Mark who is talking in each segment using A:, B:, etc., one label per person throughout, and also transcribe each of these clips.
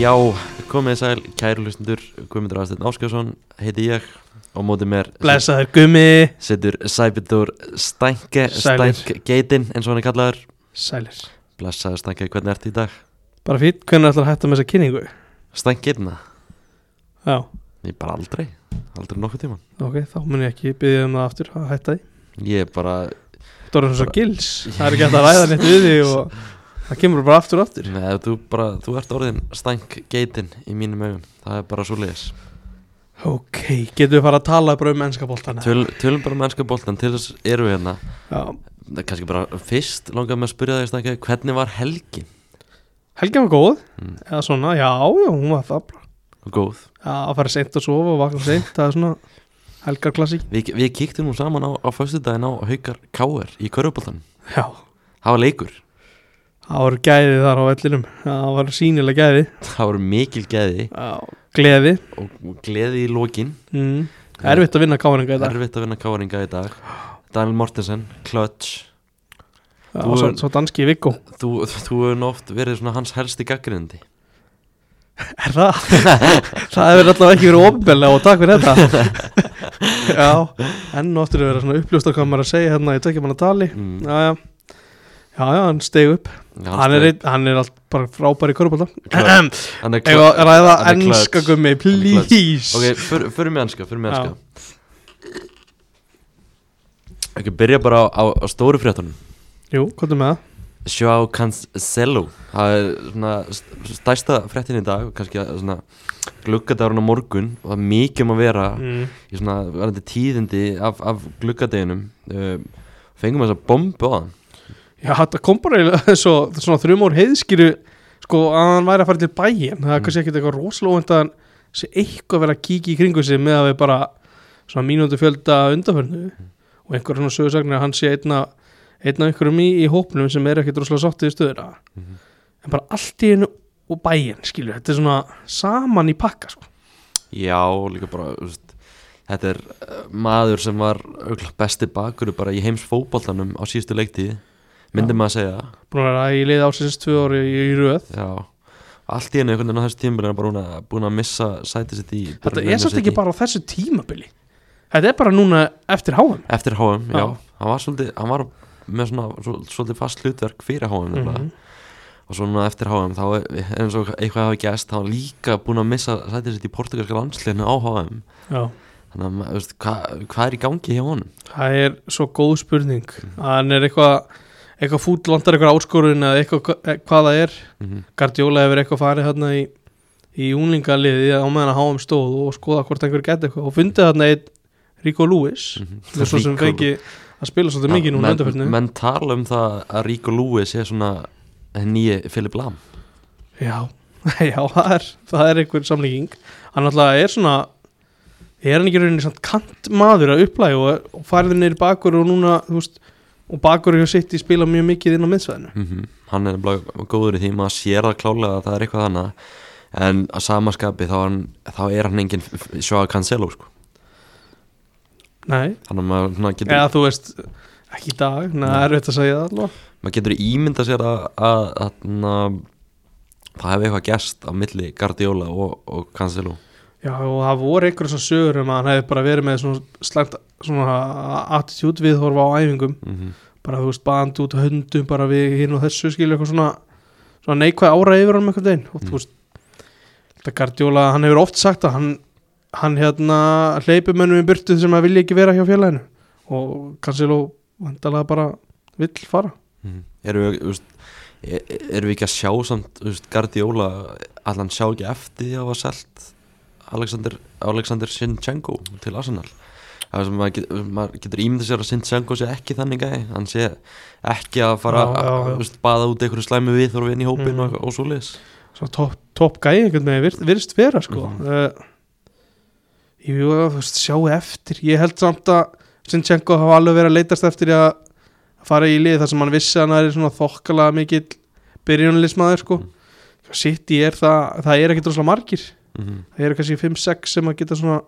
A: Já, komið sæl, kæru hlustundur, Guðmundur Aðsteinn Áskjásson, heiti ég og mótið mér
B: Blessaður gummi
A: setur Sæbjörn Stænke,
B: Sælir.
A: Stænkgeitinn eins og hann er kallaður.
B: Sælir
A: Blessaður Stænke, hvernig ertu í dag?
B: Bara fýtt, hvernig ætlar að hætta með þessa kynningu?
A: Stænkgeitina?
B: Já,
A: Ég bara aldrei, aldrei nokkuð tíman.
B: ok, þá mun ég ekki byggja um það aftur að hætta því
A: Ég er bara,
B: Þú erum svo gils, það er ekki hægt að ræða neitt við því og það kemur bara aftur og aftur
A: neða, þú bara, þú ert orðin Stænkgeitinn í mínum augun, það er bara svo leiðis.
B: Ok, getum við fara að tala bara um ennska boltana
A: Töl, tölum bara mennska boltan, til þess eru við hérna.
B: Já,
A: Það er Kannski bara fyrst langar með að spyrja þig Stænke, hvernig var helgin?
B: Helga var góð,
A: Mm.
B: eða svona, já, já, hún var það bara
A: Góð.
B: Já, að fara seint að sofa og vakna seint, það er svona helgarklassík
A: Við, við kíktum nú saman á, á föstudaginn á Haukar Káer í Köruboltan
B: Já,
A: Það var leikur,
B: það var gæði þar á vellinum, það var sínilega gæði
A: það var mikil geði
B: Já, gleði
A: og og gleði í lokin
B: mm. Erfitt að vinna káringa í dag
A: Erfitt að vinna Káeringa í dag Daniel Mortensen, Clutch
B: Já,
A: Þú-
B: svo, svo danski Viggo
A: Þú, þú hefur nú oft verið svona hans helsti gaggrindi
B: Er það? það hefur allavega ekki verið ofinbellega og takk fyrir þetta Já, enn og aftur að vera svona uppljóst á hvað maður er að segja hérna í tökja manna tali
A: mm,
B: Já, já Já, já, hann steig upp Hann er, einn- hann er allt bara frábær í korfbólta
A: Klár. hann er
B: Ega
A: Clutch
B: ræða
A: hann er klöts.
B: ennska gummi,
A: klöts.
B: please
A: Ok, för- förum í anska, förum í
B: Já.
A: anska Ok, byrja bara á, á, á stóru fréttunum
B: Jú, hvað er með það?
A: Joao Cancelo það er svona st- stærsta fréttin í dag kannski að- svona gluggadagurinn á morgun og það er mikið um að vera
B: Mm.
A: í svona varandi tíðindi af, af gluggadeginum um, fengum þess að bombu á hann
B: Já, þetta kom bara eiginlega svo, svona þrjum ár heiðskýru sko að hann væri að fara til bæin það er kannski ekkert eitthvað rosalega óvænt að hann sé eitthvað að vera að kíkja í kringu sig með að við bara svona mínútu fjölda undanförnu og einhver svona sögursagnir að hann sé einna, einna einhverjum í, í hópnum sem er ekkert rosalega sáttið í stöðuna en bara allt í hennu og bæin skilur, þetta er svona saman í pakka sko.
A: já, líka bara þú veist, þetta er uh, maður sem var örugglega besti bakur bara í heims fótboltanum á síðustu leiktíð myndi
B: Já.
A: maður að segja
B: búin að vera í liði ásins tvö ári í, í röð
A: já allt í henni einhvern veginn á þessu tímur er bara búin að- búin að missa sætið sitt í
B: þetta
A: Birmingham
B: er satt
A: City.
B: ekki bara á þessu tímabili þetta er bara núna eftir háum
A: Eftir HM, já,
B: Já.
A: hann var svolítið hann var með svona svol- svolítið fast hlutverk fyrir HM
B: Mhm.
A: mm og svo núna eftir HM þá er- eins og eitthvað hafi gæst þá er hann líka búin að missa sætið sitt í portugalska landsliðinu á HM
B: já
A: þannig að maður, veist, hvað hva er í gangi hjá honum?
B: Það er svo góð spurning Hann er eitthvað eitthvað fúll landar eitthvað áskorun eða eitthvað hva- eh, hvað það er
A: Mm
B: Gardiola hefur eitthvað farið hérna í, í únglingaliði á meðan að háum stóð og skoða hvort einhver geti eitthvað og fundið hérna einn Rico Lewis
A: Mhm.
B: sem svo sem
A: Rico-
B: fengi að spila svolítið mikið núna
A: menn,
B: undanfjörnu
A: menn tala um það að Rico Lewis er svona nýji Philip Lam
B: Já, já það, er, það er einhver samlíking Hann alltaf er svona er hann ekki í rauninni samt kant maður að upplæg og, og farið neyri bakur og núna þú veist, og bakur hefur sitt í spila mjög mikið inn á miðsvæðinu
A: hann er bara góður í því maður sér það klálega að það er eitthvað þannig en að samaskapi þá, er hann- þá er hann enginn sjóða Cancelo sko.
B: Nei,
A: þannig að maður svona getur
B: eða þú veist ekki í dag, neða það er auðvitað að segja það allavega
A: maður getur ímynda sér að, að, að, að það hefði eitthvað gerst á milli Guardiola og, og Cancelo
B: Já, og það voru einhverjum svona sögur um að hann hefði bara verið með svona slæmt svona attitude viðhorfa á æfingum
A: mm -hmm.
B: bara þú veist, band út höndum bara við hinn og þessu skilur eitthvað svona svona neikvæð ára yfir honum einhvern veginn og
A: Mm.
B: þú veist, þetta Gardiola hann hefur oft sagt að hann hann hérna hleypur mönnum í burtu sem að vilja ekki vera hjá félaginu og Cancelo vandalega bara vill fara
A: Mhm. erum við þú veist, e- e- erum við ekki að sjá samt þú veist, Guardiola, allan sjá ekki eftir því að hafa selt Alexander, Alexander Sinchenko til Arsenal Það er sem maður, get, maður getur ímynda sér að Sinchenko sé ekki þannig gæði, hann sé ekki að fara
B: Já, já,
A: að
B: já.
A: þú veist, baða út einhverju slæmi við þóra við inn í hópin
B: Mhm.
A: og, eitthvað- og svo leis
B: svona topp top gæi einhvern veginn virð- virðist vera sko mm jú, þú veist, sjáu eftir ég held samt að Sinchenko hafa alveg verið að leitast eftir því að fara í lið þar sem hann vissi að hann er svona þokkala mikill byrjunulismæður sko
A: Mhm.
B: sitt í er það, það er ekki droslega margir
A: mm -hmm.
B: það eru kannski 5-6 sem að geta svona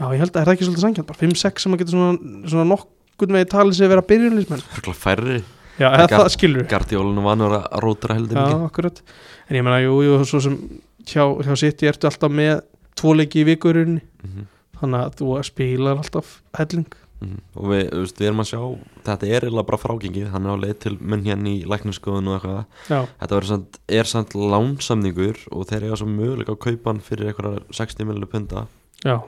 B: já, ég held að er það ekki svolítið sangjant bara 5-6 sem að geta svona, svona nokkurn veginn talið sig að vera byrjunulismenn
A: færri
B: já, eða
A: Gar-
B: það skilur
A: Guardiolanu vanur að rótra heldur
B: Já,
A: mikið
B: akkurat En ég meina, jú, jú, svo sem hjá, hjá City ertu alltaf með tvo leiki í vikurunni þannig að þú spilar alltaf helling
A: Mhm. og við, þú veist, við erum að sjá þetta er eiginlega bara frágengið, hann er á leið til munn hérna í lækniskoðun og eitthvað
B: já,
A: þetta verður samt, er samt lánsamningur og þeir eiga svo möguleika að kaupa hann fyrir eitthvað 60 miljonir punta
B: já,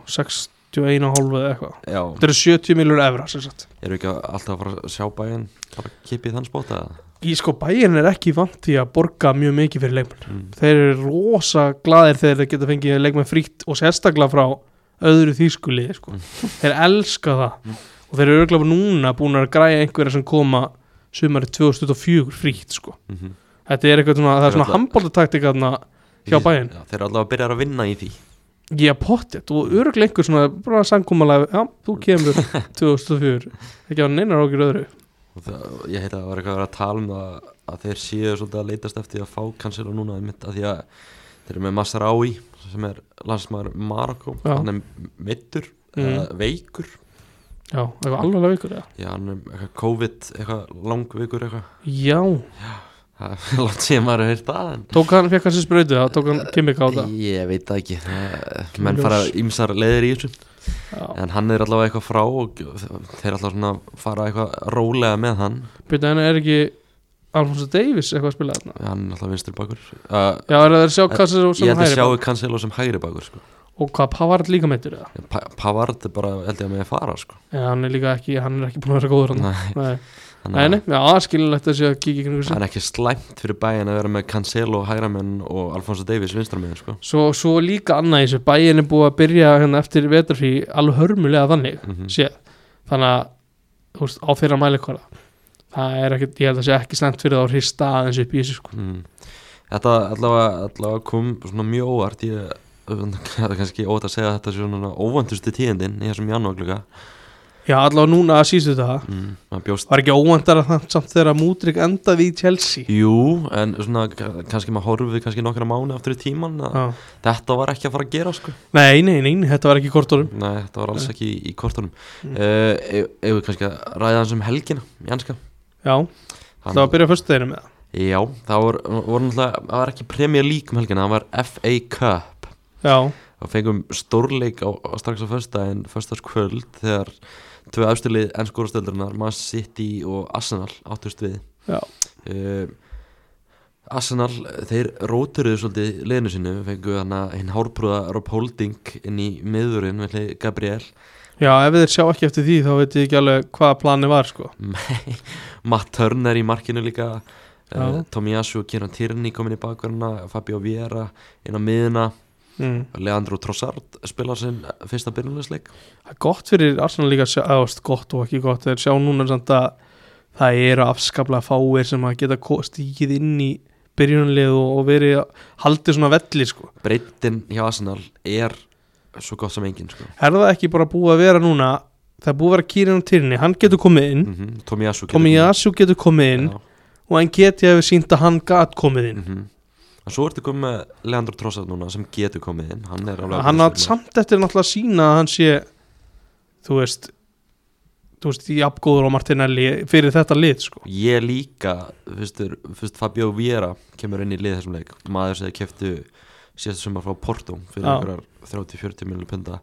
B: 61,5 eða eitthvað
A: já,
B: þetta eru 70 miljónur evra sem sagt
A: eru ekki alltaf að fara að sjá bæinn bara kipið þann spota
B: Í sko bæin er ekki vant í að borga mjög mikið fyrir leikmenn.
A: mm.
B: Þeir eru rosa glaðir þegar þeir geta fengið leikmenn frítt og sérstaklega frá öðru þýskuliði sko. Þeir elska það
A: Mm.
B: og þeir eru örglega núna búin að græja einhverja sem koma sumarið 2004 frítt sko.
A: Mm -hmm.
B: Þetta er eitthvað svona, það er svona
A: Þetta-
B: handbóltataktika þarna Hjá Bayern?
A: já, þeir eru alltaf að byrja að vinna í því
B: ég að pottet og örglega einhver svona bara sangkómalega, já, þú kemur 2004, ekki á neinar okkur öðru.
A: og það, ég heita að það var eitthvað að vera að tala um það að þeir séu svolítið að leitast eftir að fá Cancelo núna einmitt að því að þeir eru með Masraoui sem er landsmaður Marokko
B: Já.
A: hann er meittur
B: Mm.
A: eða veikur
B: Já, eitthvað alvarlega veikur eða?
A: já, hann er eitthvað COVID eitthvað langveikur eitthvað
B: Já,
A: það er langt síðan maður hefur það en
B: tók hann, fekk hann sér sprautu það, tók hann kemika á það.
A: ég veit það ekki það,
B: Kemur
A: menn
B: ljós.
A: fara ýmsar leiðir í þessu
B: Já.
A: en hann er allavega eitthvað frá og þeir er allavega svona að fara eitthvað rólega með hann
B: Býta henni er ekki Alfonso Davis eitthvað að spila þarna
A: hann er alltaf vinstur bakur uh,
B: Já, er það að sjá hvað sem
A: ég held að
B: hægri
A: sjáu Cancelo sem hægri bakur sko
B: Og hvað Pavard líka meittur eða
A: Pa Pavard er bara held ég að með að fara sko.
B: En hann er líka ekki, hann er ekki búin að vera góður hann
A: Nei,
B: Nei,
A: þannig
B: nei,
A: að
B: nei, já, skilulegt að sé að kíkja kringu
A: það
B: sig
A: er ekki slæmt fyrir bæin að vera með Cancelo hægramenn og Alfonso Davies vinstramenn sko.
B: Svo, svo líka annað í þessu bæin er búið að byrja hérna eftir vetarfrí alveg hörmulega þannig
A: mm -hmm.
B: séð Þannig að, þú veist, á þeirra mæli Það er ekki, ég held að sé ekki slæmt fyrir það að hrista aðeins upp í þessu sko
A: mm. Þetta allavega, allavega kom svona mjög óvart ég það er kannski óvægt að segja að þetta sé svona óvandustu tíðindin í þessum janúarglöka
B: Já, allavega núna að sístu það
A: mm. maður bjóst
B: Var ekki óvandar að það samt þegar Múdrik endaði í Chelsea
A: Jú, en svona ka- kannski maður horfið kannski nokkra mánu aftur í tíman að
B: Já.
A: þetta var ekki að fara að gera sko
B: Nei, nei, nei, þetta var ekki kortórum
A: Nei, þetta var alls ekki í, í kortunum
B: Mm.
A: mm. uh, Eða kannski að ræða hans um helgina í anska
B: Já,
A: Hann-
B: það var að byrja á föstudeginu með það
A: Já, það voru, voru náttúrulega, það var ekki Premier League um helgina, það var FA Cup
B: Já,
A: og fengum stórleik á, á strax á föstudaginn, föstudagskvöld þegar tvö afstilið ennskórastöldurnar, Man City og Arsenal áttust við
B: Já.
A: Eh, Arsenal, þeir róturuðu svolítið liðinu sinu, fengu hana hinn hárprúða Rob Holding inn í miðurinn, við hlið Gabriel
B: já, ef þeir sjá ekki eftir því þá veit ég ekki alveg hvaða plani var sko
A: Matt Turner í markinu líka uh,
B: Já.
A: Tomiyasu og Kieran Tierney komin í bakverðina, Fabio Vieira inn á miðuna
B: mm.
A: Leandro Trossard spilar sinn fyrsta byrjunleisleik
B: Það er gott fyrir Arsenal líka að sjá, eða þú veist, gott og ekki gott þeir sjá núna samt að það eru afskaplega fáir sem að geta ko- stíkið inn í byrjunlið og, og verið að haldið svona velli sko
A: breytin hjá Arsenal er svo gott sem engin sko.
B: Er það ekki bara búið að vera núna það er búið að vera kýrin á týrinni, hann getur komið inn
A: mm -hmm. Tomiyasu getur-
B: Tomiyasu getur komið inn
A: Já,
B: og hann geti hefur sínt að hann gat komið inn
A: mhm. En svo ertu komið með Leandro Trossard núna sem getur komið inn hann er alveg
B: hann átt samt eftir náttúrulega að sína að hann sé þú veist þú veist, jafngóður á Martinelli fyrir þetta lið sko
A: ég líka fyrstur, fyrst Fabio Vieira kemur inn í lið þessum leik maður sem þeir keftu síðast sumar frá Porto fyrir
B: Já.
A: einhverjar 30-40 miljonir punda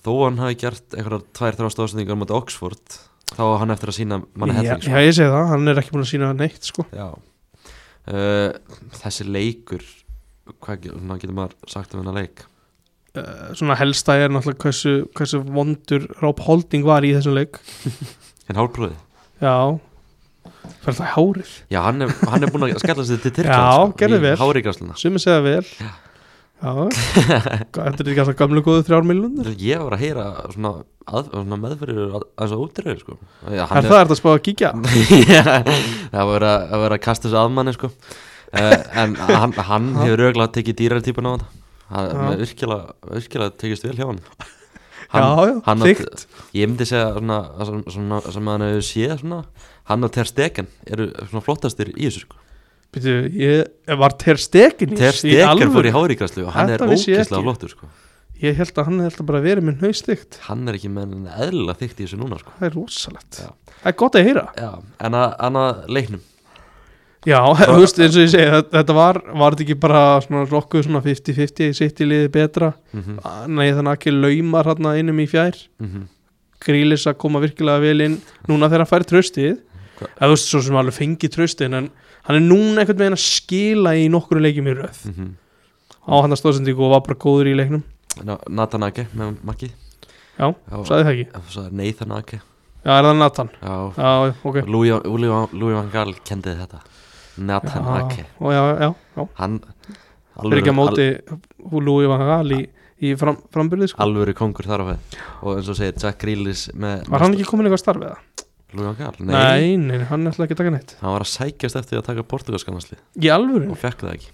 A: þó hann hafi gert einhverjar tvær þrjástóðsendingar mot Oxford þá á hann eftir að sína manna
B: já,
A: helling sko.
B: já, ég segi það, hann er ekki búin að sína neitt sko
A: Já uh, Þessi leikur Hvað ge- svona getur maður sagt um þennan leik
B: uh, svona helsta er náttúrulega hversu, hversu vondur Rob Holding var í þessum leik
A: En hálfbróði
B: já fyrir það hárið,
A: Já, hann er, hann er búin að skella sér til sko, Tyrkland
B: Já, gerðu vel.
A: Hárikarsluna
B: sumi segja vel já, þetta er ekki alltaf gamlu góðu þrjár miljónir
A: Ég var að heyra svona, að, svona meðferðir aðeins á útröðu sko. Já,
B: er það, er það spáð að kíkja
A: Já, það var að, að vera að kasta þessu aðmanni sko. uh, En hann, hann hefur auðvitað tekið dýrar típan á þetta Það
B: Já.
A: er virkilega, virkilega tekist vel hjá hann
B: já, já,
A: hann átti-
B: þygt
A: Ég myndi segja svona, svona, svona, sem hann hefur séð svona, hann og Ter Stegen eru svona flottastir í þessu sko.
B: Býtu, ég ég var Ter Stegen í-
A: Ter
B: í
A: Stegen fór
B: alvöru.
A: í hárigræslu og hann er
B: Þetta vissi ég
A: ógeðslega
B: ekki.
A: flottur sko.
B: Ég held að hann held að bara verið minn haustygt
A: hann er ekki með enn eðlilega þykkt í þessu núna sko.
B: Það er rosalegt
A: Já.
B: Það er gott að heyra
A: Já, en að, en að leiknum
B: Já, þú veist, eins og ég segi, þetta- þetta var, var þetta ekki bara svona rokkuð svona 50-50, sitt í liði betra,
A: mm -hmm.
B: nei þannig að ekki laumar hérna innum í fjær,
A: Mhm.
B: grílis að koma virkilega vel inn, núna þegar hann fær tröstið,
A: Hva-
B: eða þú veist, svo sem alveg fengi tröstið, en hann er núna einhvern veginn að skila í nokkru leikjum í röð,
A: Mhm.
B: á hann að stóðsendingu og var bara góður í leiknum,
A: Nathan Ake með Maggi
B: já,
A: Já,
B: sagði það ekki,
A: sagði Nathan Ake
B: já, er það Nathan,
A: Já,
B: já, ok,
A: Louis Louis- Louis van Gaal kendi þetta Nathan
B: já,
A: Ake
B: og já, já, já,
A: Hann
B: er ekki að
A: al-
B: móti Lúi Van Gaal í, í fram, framburði, sko,
A: alvöru kongur þar á það og eins og segir Jack Grealish með
B: var hann ekki komin eitthvað starfið það?
A: Louis van Gaal? Nei,
B: Nei, nei, hann ætlaði ekki að taka neitt
A: hann var að sækjast eftir að taka portugalskanasli
B: Í alvöru?
A: og fekk það ekki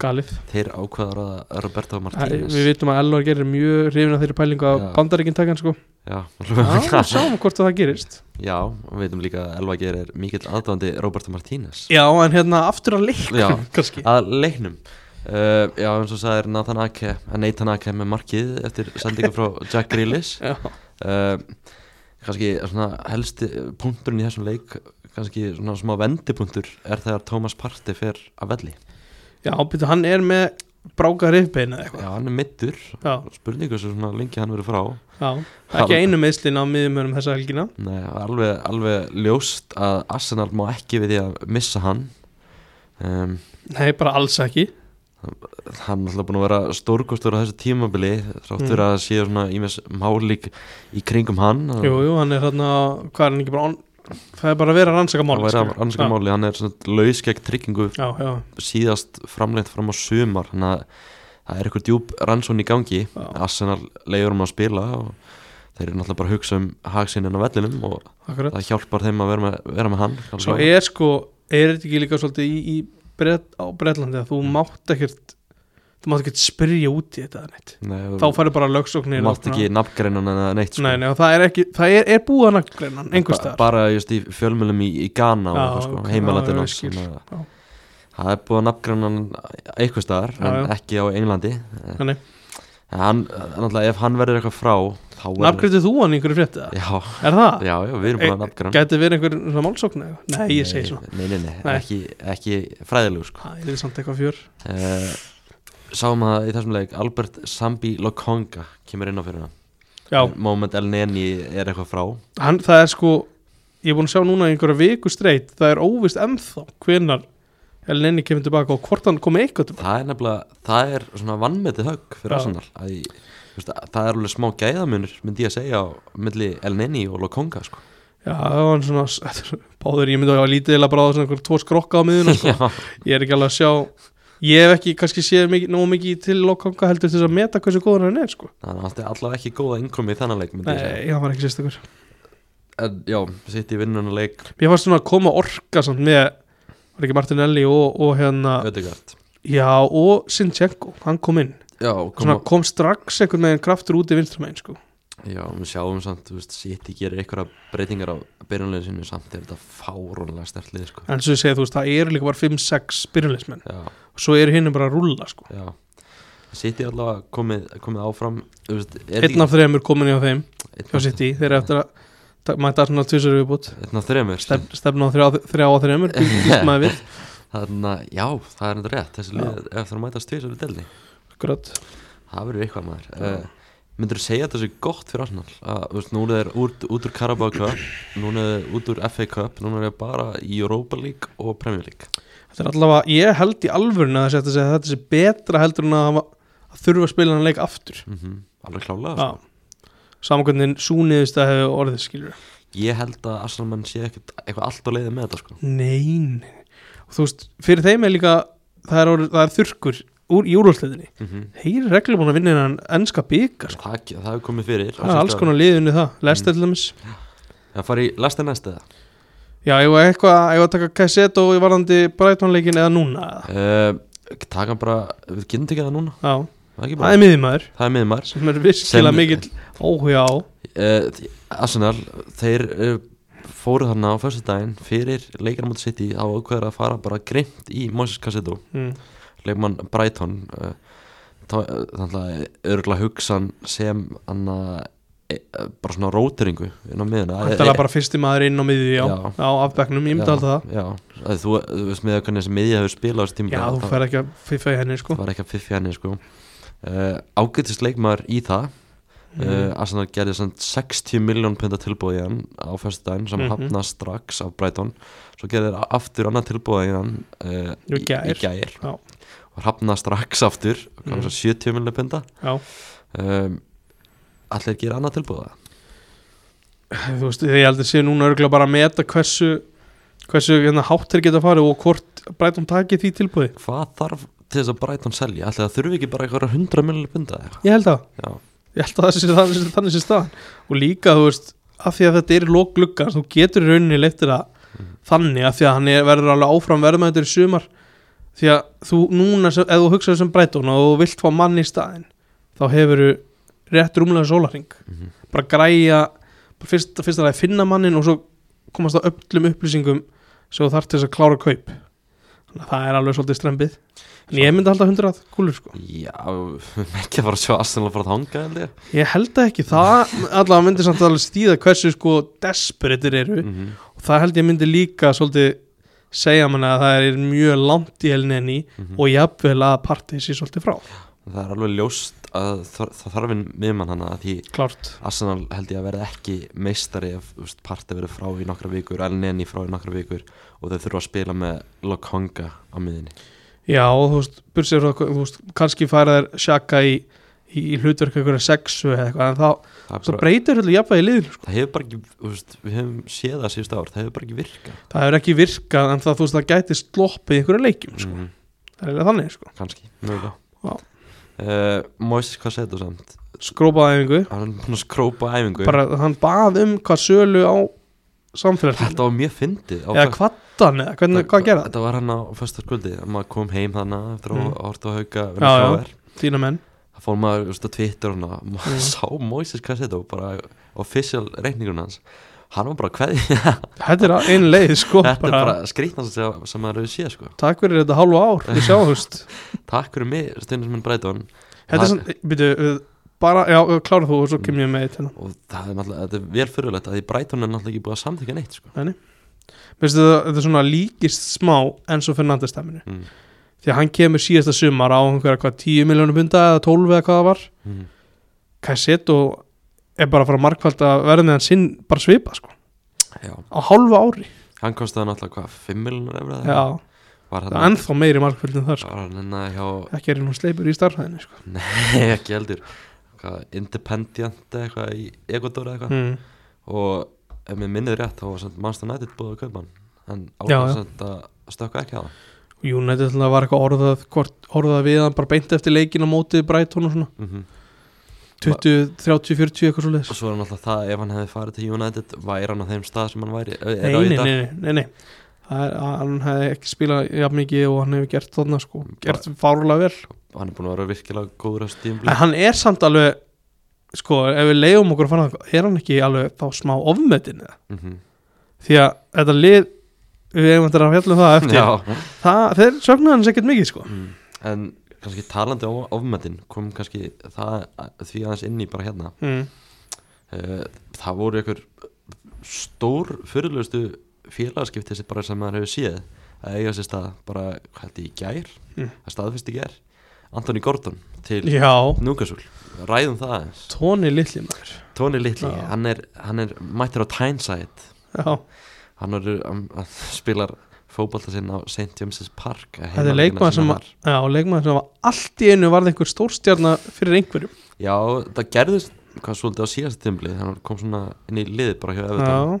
B: Galið
A: þeir ákvaðar að Roberto
B: Æ,
A: Martínez
B: Við vitum að Elvar gerir mjög hrifin af þeirri pælingu að
A: Já.
B: bandaríkinn taka hann sko
A: já, Louis
B: Já,
A: van
B: við
A: Gaal
B: sjáum hvort að það gerist
A: já, og við veitum líka að Elva Geir er mikill aðdóðandi Roberto Martínez
B: Já, en hérna aftur að leiknum
A: Já.
B: kannski
A: að leiknum uh, já, eins og sagðir Nathan Ake að Nathan Ake með markið eftir sendingu frá Jack Grealish
B: Já,
A: uh, kannski svona helsti punkturinn í þessum leik kannski svona smá vendipunktur er þegar Thomas Partey fer að velli
B: Já býttu, hann er með bráka rifbein eða eitthvað
A: já, hann er middur,
B: Já,
A: spurningu sem svona lengi hann verið frá
B: já, ekki einu meðslinn á miðumörum þessa helgina
A: Nei, alveg, alveg ljóst að Arsenal má ekki við því að missa hann um,
B: Nei, bara alls ekki
A: hann er alltaf búin að vera stórkostur á þessu tímabili þráttur
B: Mm.
A: að það séu svona ímess málík í kringum hann
B: Jú, jú, hann er hérna, hvað er hann ekki bara on... Það er bara að vera að rannsaka
A: hann
B: máli
A: væri að rannsaka máli, hann er svona laus gegn tryggingu
B: Já, já,
A: síðast framlengt fram á sumar þannig að það er eitthvað djúb rannsón í gangi
B: Já.
A: Arsenal leiður um að spila og þeir eru náttúrulega bara að hugsa um hagsinnin á vellinum og
B: akkurat
A: það hjálpar þeim að vera með, vera með hann
B: Svo
A: alveg.
B: er sko, er þetta ekki líka svolítið í, í bret, á Bretlandi að
A: Mm.
B: þú mátt ekkert þú mátt ekkert spyrja út í þetta eða neitt.
A: Nei,
B: þá færðu bara lögsóknir
A: þú mátt ekki nafngreinan eða neitt
B: nei, nei, og það er ekki, það er, er búið að naglennan einhver
A: Ba-
B: staðar
A: bara just í fjölmjölum í, í Ghana og
B: Já,
A: eitthvað, sko,
B: ok, já,
A: heimalandin
B: já,
A: hans
B: ég skil,
A: þannig að
B: já.
A: það er búið að nafngreinan einhver staðar
B: Já,
A: en
B: já.
A: ekki á Englandi
B: Nei, nei.
A: en hann, náttúrulega ef hann verður eitthvað frá þá verður
B: nafngreitið þú hann í einhverju frétta
A: já,
B: er það?
A: já, já, við erum búin að nafngreina
B: gæti verið einhver svona málsókn eða? nei, ég segi svona
A: Nei, nei, nei,
B: Nei.
A: Ekki, ekki fræðilegu sko
B: það er samt eitthvað fjör
A: uh, Sáum að í þessum leik Albert Sambi Lokonga kemur inn á fyrir
B: já,
A: hann Moment El Neni er eitthvað frá
B: hann, það er sko ég er búin að sjá núna í einhverja viku streitt það er óvist ennþá hvenar Elneni kemur tilbaka og hvort hann komið eitthvað tilbaka.
A: Það er nefnilega, það er svona vannmetið högg fyrir
B: Já.
A: Arsenal að, ég- þú veist, að Það er alveg smá gæðamunur myndi ég að segja á milli El Neni og Lokonga sko
B: já, það var svona báður, ég myndi að ég var lítið eða bara á svona einhver tvo skrokka á miðuna sko.
A: Já,
B: ég er ekki alveg að sjá ég hef ekki kannski séð mikið, nóg mikið til lokanga heldur til þess að meta hversu góður hann er sko.
A: þannig að það er allavega ekki góða innkomi í þennan leik myndi ég segja
B: nei, hann var ekki sérstakur
A: En já, sitt í vinnunum leik
B: ég var svona að koma orka samt með var ekki Martinelli og, og hérna
A: Ödegard
B: já, og Sinchenko, hann kom inn
A: Já, koma
B: svona, kom strax einhvern veginn kraftur út í vinstramegin sko.
A: Já, við sjáum samt, þú veist, City gerir einhverja breytingar á byrjunleginu sinu samt er þetta fárónlega sterkt lið, sko.
B: en svo ég segi, þú veist, það eru líka bara 5-6 byrjulegismenn,
A: Já,
B: svo eru hinn bara að rúlla sko.
A: já. City allavega komið, komið áfram, þú veist, er
B: einn af þeim er komin hjá þeim hjá
A: einn af,
B: City, þeir eru eftir að ta- mæta svona tvisar viðbútt
A: einn af þreymur.
B: Stef, stefna á þrjá, þrjá á þreymur býst maður við,
A: Þannig að, já, það er enda rétt, þessi lið er eftir að mætast tvisar við delni.
B: grönt
A: Það verður eitthvað maður. Uh, myndur þú segja þetta sé gott fyrir Arsenal? Að, þú veist, núna er úr, út úr Carabao Cup, núna er út úr FA Cup, núna er bara í Europa League og Premier League.
B: Þetta er allavega, ég held í alvörun að þetta sé, þetta sé betra heldur en að, hafa- að þurfa að spila hann leik aftur
A: Mm Alveg klálega,
B: Mhm.
A: sko.
B: Já Samankvæmdinn súniðist að hefur orðið skilur
A: ég held að Arsenal menn sé ekkert, eitthvað allt á leiði með þetta sko.
B: Nein Og þú veist, fyrir þeim er líka það er, orðið, það er þurrkur úr júrósleðinni Þeir eru reglulega búin að vinna hennan ennska byggar sko.
A: það, það hefur komið fyrir
B: Það er alls konar liðunni það, lesta til dæmis
A: Það fari í lasta næsta eða?
B: Já, ég var eitthvað, ég var að taka Kaiseto í varandi Brightonleikin eða núna eða.
A: uh, Taka bara, við getum tekið það núna
B: Já,
A: Það er, ekki
B: það
A: bara,
B: er miðjumæður
A: það er miður maður
B: sem er virkilega
A: Sem-
B: mikill óhuga á
A: uh, Arsenal, þeir uh, fóru þarna á fyrstu daginn fyrir leikar mútið sitt í á ákveður að fara bara grimt í Moses Cassetto
B: mm.
A: leikmann Eh, Brighton uh, þá- þannig að örgulega hugsan sem anna, e, bara svona róteringu inn á miðuna
B: Þetta er bara fyrsti maður inn á miðið já,
A: Já.
B: á afbæknum, ég myndi alltaf það
A: Já, að þú, þú veist með hvernig þessi miðja hefur spilað á þessu tíma
B: Já, þú fer ekki að fiffa í henni sko
A: var ekki að fiffi henni sko. uh, ágættist leikmaður í það uh, Arsenal gerði samt 60 miljón punta tilbúið í hann á fyrstudaginn sem
B: Mhm.
A: hafna strax af Brighton svo gerði þeir aftur annað tilbúið í hann uh,
B: Í gær.
A: í gær
B: Já.
A: og hafna strax aftur mm
B: Mhm.
A: -hmm. 70 miljón punta
B: Já,
A: um, allir gera annað tilbúið það?
B: þú veist, ég held að sé núna örgulega bara að meta hversu hversu hérna, háttir geta farið og hvort Breitum taki því tilbúði
A: hvað þarf til þess að Brighton selja allir það þurfi ekki bara eitthvað 100 miljón punta eða eitthvað?
B: Ég held að,
A: Já.
B: ég held að það sé þannig, þannig sé staðan og líka, þú veist, af því að þetta er lóklugga, þú getur í rauninni leiftir það þannig að því að hann er, verður alveg áfram verðmættur í sumar því að þú núna, sem- ef þú hugsaður sem Breitum og þú vilt fá mann í staðin þá hefur þú rétt rúmlega sólaring
A: Mhm.
B: bara græja bara fyrst, fyrst að finna mannin og svo komast á öllum upplýsingum sem þú þarf til þess að klára kaup þannig að það er alveg svolítið strempið en ég myndi alltaf 100 kúlur sko
A: Já, við erum ekki að fara að sjá Arsenal að fara að hanga held ég
B: ég held það ekki, það allavega myndi samt alveg stíða hversu sko desperatir eru
A: mm -hmm.
B: og það held ég myndi líka svolítið segja manni að það er mjög langt í helni enni
A: Mm.
B: og jafnvel að partið sér svolítið frá,
A: mhm. Það er alveg ljóst að þar- það þarf einn miðmann hana að því
B: klárt
A: Arsenal held ég að verða ekki meistari ef þú veist, partið verið frá í nokkra vikur El Neni frá í nokkra vikur og þau þurfa að spila með Lokonga á miðinni
B: Já, og þú veist, bursið frá, þú veist, kannski færa þær sjaka í, í, í hlutverk einhverja sexu eða eitthvað, en þá,
A: Það, er
B: það
A: bara,
B: breytir öllu jafnvægi í liðinu, sko.
A: það hefur bara ekki, þú veist, við hefum séð það síðust ár, það hefur bara ekki virkað
B: Það hefur ekki virkað, en það, þú veist, það gæti sloppið í einhverju leikjum, sko.
A: Mhm,
B: Það er eiginlega þannig, sko.
A: Kannski, mögulega
B: Já.
A: uh, Moises, hvað segir þú samt?
B: Skrópaði æfingu,
A: Hann er búin að skrópa æfingu
B: bara hann bað um hvað sölu á samfélaginu.
A: Þetta var mjög fyndið á
B: Eða kvattan, eða hvernig, hvað gerða það?
A: Þetta var hann á fyrsta skuldi maður kom heim þannig eftir að
B: Mm.
A: horta á hauka
B: Já,
A: vinna
B: já.
A: KR.
B: Þína menn.
A: það fór maður þú veist, á Twitter hana, maður
B: Mm.
A: sá Moises Cassetto bara official reikningun hans hann var bara hverði
B: Þetta er einn leið, sko,
A: þetta er
B: bara,
A: bara skrýtnast sem, sem maður hefur séð sko.
B: takk fyrir þetta hálfu ár, við sjáum, þú veist.
A: takk fyrir mig Steinismann Breitón
B: Þetta er
A: Það-
B: svona, byrju, bara, já, klára þú og svo kem ég með eitt hérna.
A: og það er, náttúrulega- þetta er vel fyrirlegt að því Breitón er náttúrulega ekki búið að samþykja neitt sko.
B: Veistu það, þetta er svona líkist smá Enzo Fernandes stemminu
A: mm.
B: Því að hann kemur síðasta sumar á einhverja hvað 10 miljónum punda eða 12 eða hvað það var
A: Mm.
B: Kasset og er bara að fara markvælt að verða með hann sinn bara svipa sko
A: Já.
B: Á hálfu ári
A: hann kostiði náttúrulega hvað 5 miljonar efra
B: Já,
A: var hann
B: það er ennþá meiri markvælt en það sko
A: var hann hérna hjá
B: Ekki er hann sleipur í starfhæðinu sko
A: Nei, ekki heldur Hvað, Independent eða eitthvað í Ecuador eða eitthvað
B: mm.
A: og ef mér minnið rétt þá var samt Manchester United búið að kaupa hann en
B: Já, já.
A: ákveð samt að stökka ekki á það
B: Og United ætla að var eitthvað orðað, hvort, orðað við hann bara beint eftir leikin á mótið Brighton og svona
A: mm
B: 20, 30, 40 eitthvað svo
A: og
B: leiðis
A: svo er náttúrulega það ef hann hefði farið til United væri hann á þeim stað sem hann væri er,
B: Nei, nei, nei, nei, nei, nei. Það Er, hann hefði ekki spilað jafn mikið og hann hefur gert þarna sko, gert fárlega vel
A: hann er búin að vera virkilega góður á stíðum
B: En hann er samt alveg sko, ef við leiðum okkur að fara það er hann ekki alveg þá smá ofmetin eða?
A: mm -hmm.
B: því að þetta lið við eigum þetta að fjalla um það eftir það, þeir sögnaði hans ekkert mikið sko
A: mm. en kannski talandi á ofmetin kom kannski það því aðeins inn í bara hérna
B: mm.
A: Eh, það voru einhver stór fyrirlustu félagskipti sem bara sem maður hefur séð að eiga sér stað bara hvað held ég í gær
B: Mm.
A: að staðfist í gær Anthony Gordon til yeah.
B: já,
A: Núkasul ræðum það aðeins
B: tóni litli maður
A: Tony Little,
B: Já.
A: hann er, hann er mættir á Tyneside
B: já,
A: hann, er, um, hann spilar fótbolta sinn á St. James's Park
B: þetta er leikmaður sem,
A: var
B: já, leikmaður sem var allt í einu varð einhver stórstjarnar fyrir einhverjum
A: Já, það gerðist hvað svolítið á síðast tímli hann kom svona inn í liðið bara hjá Everton
B: já,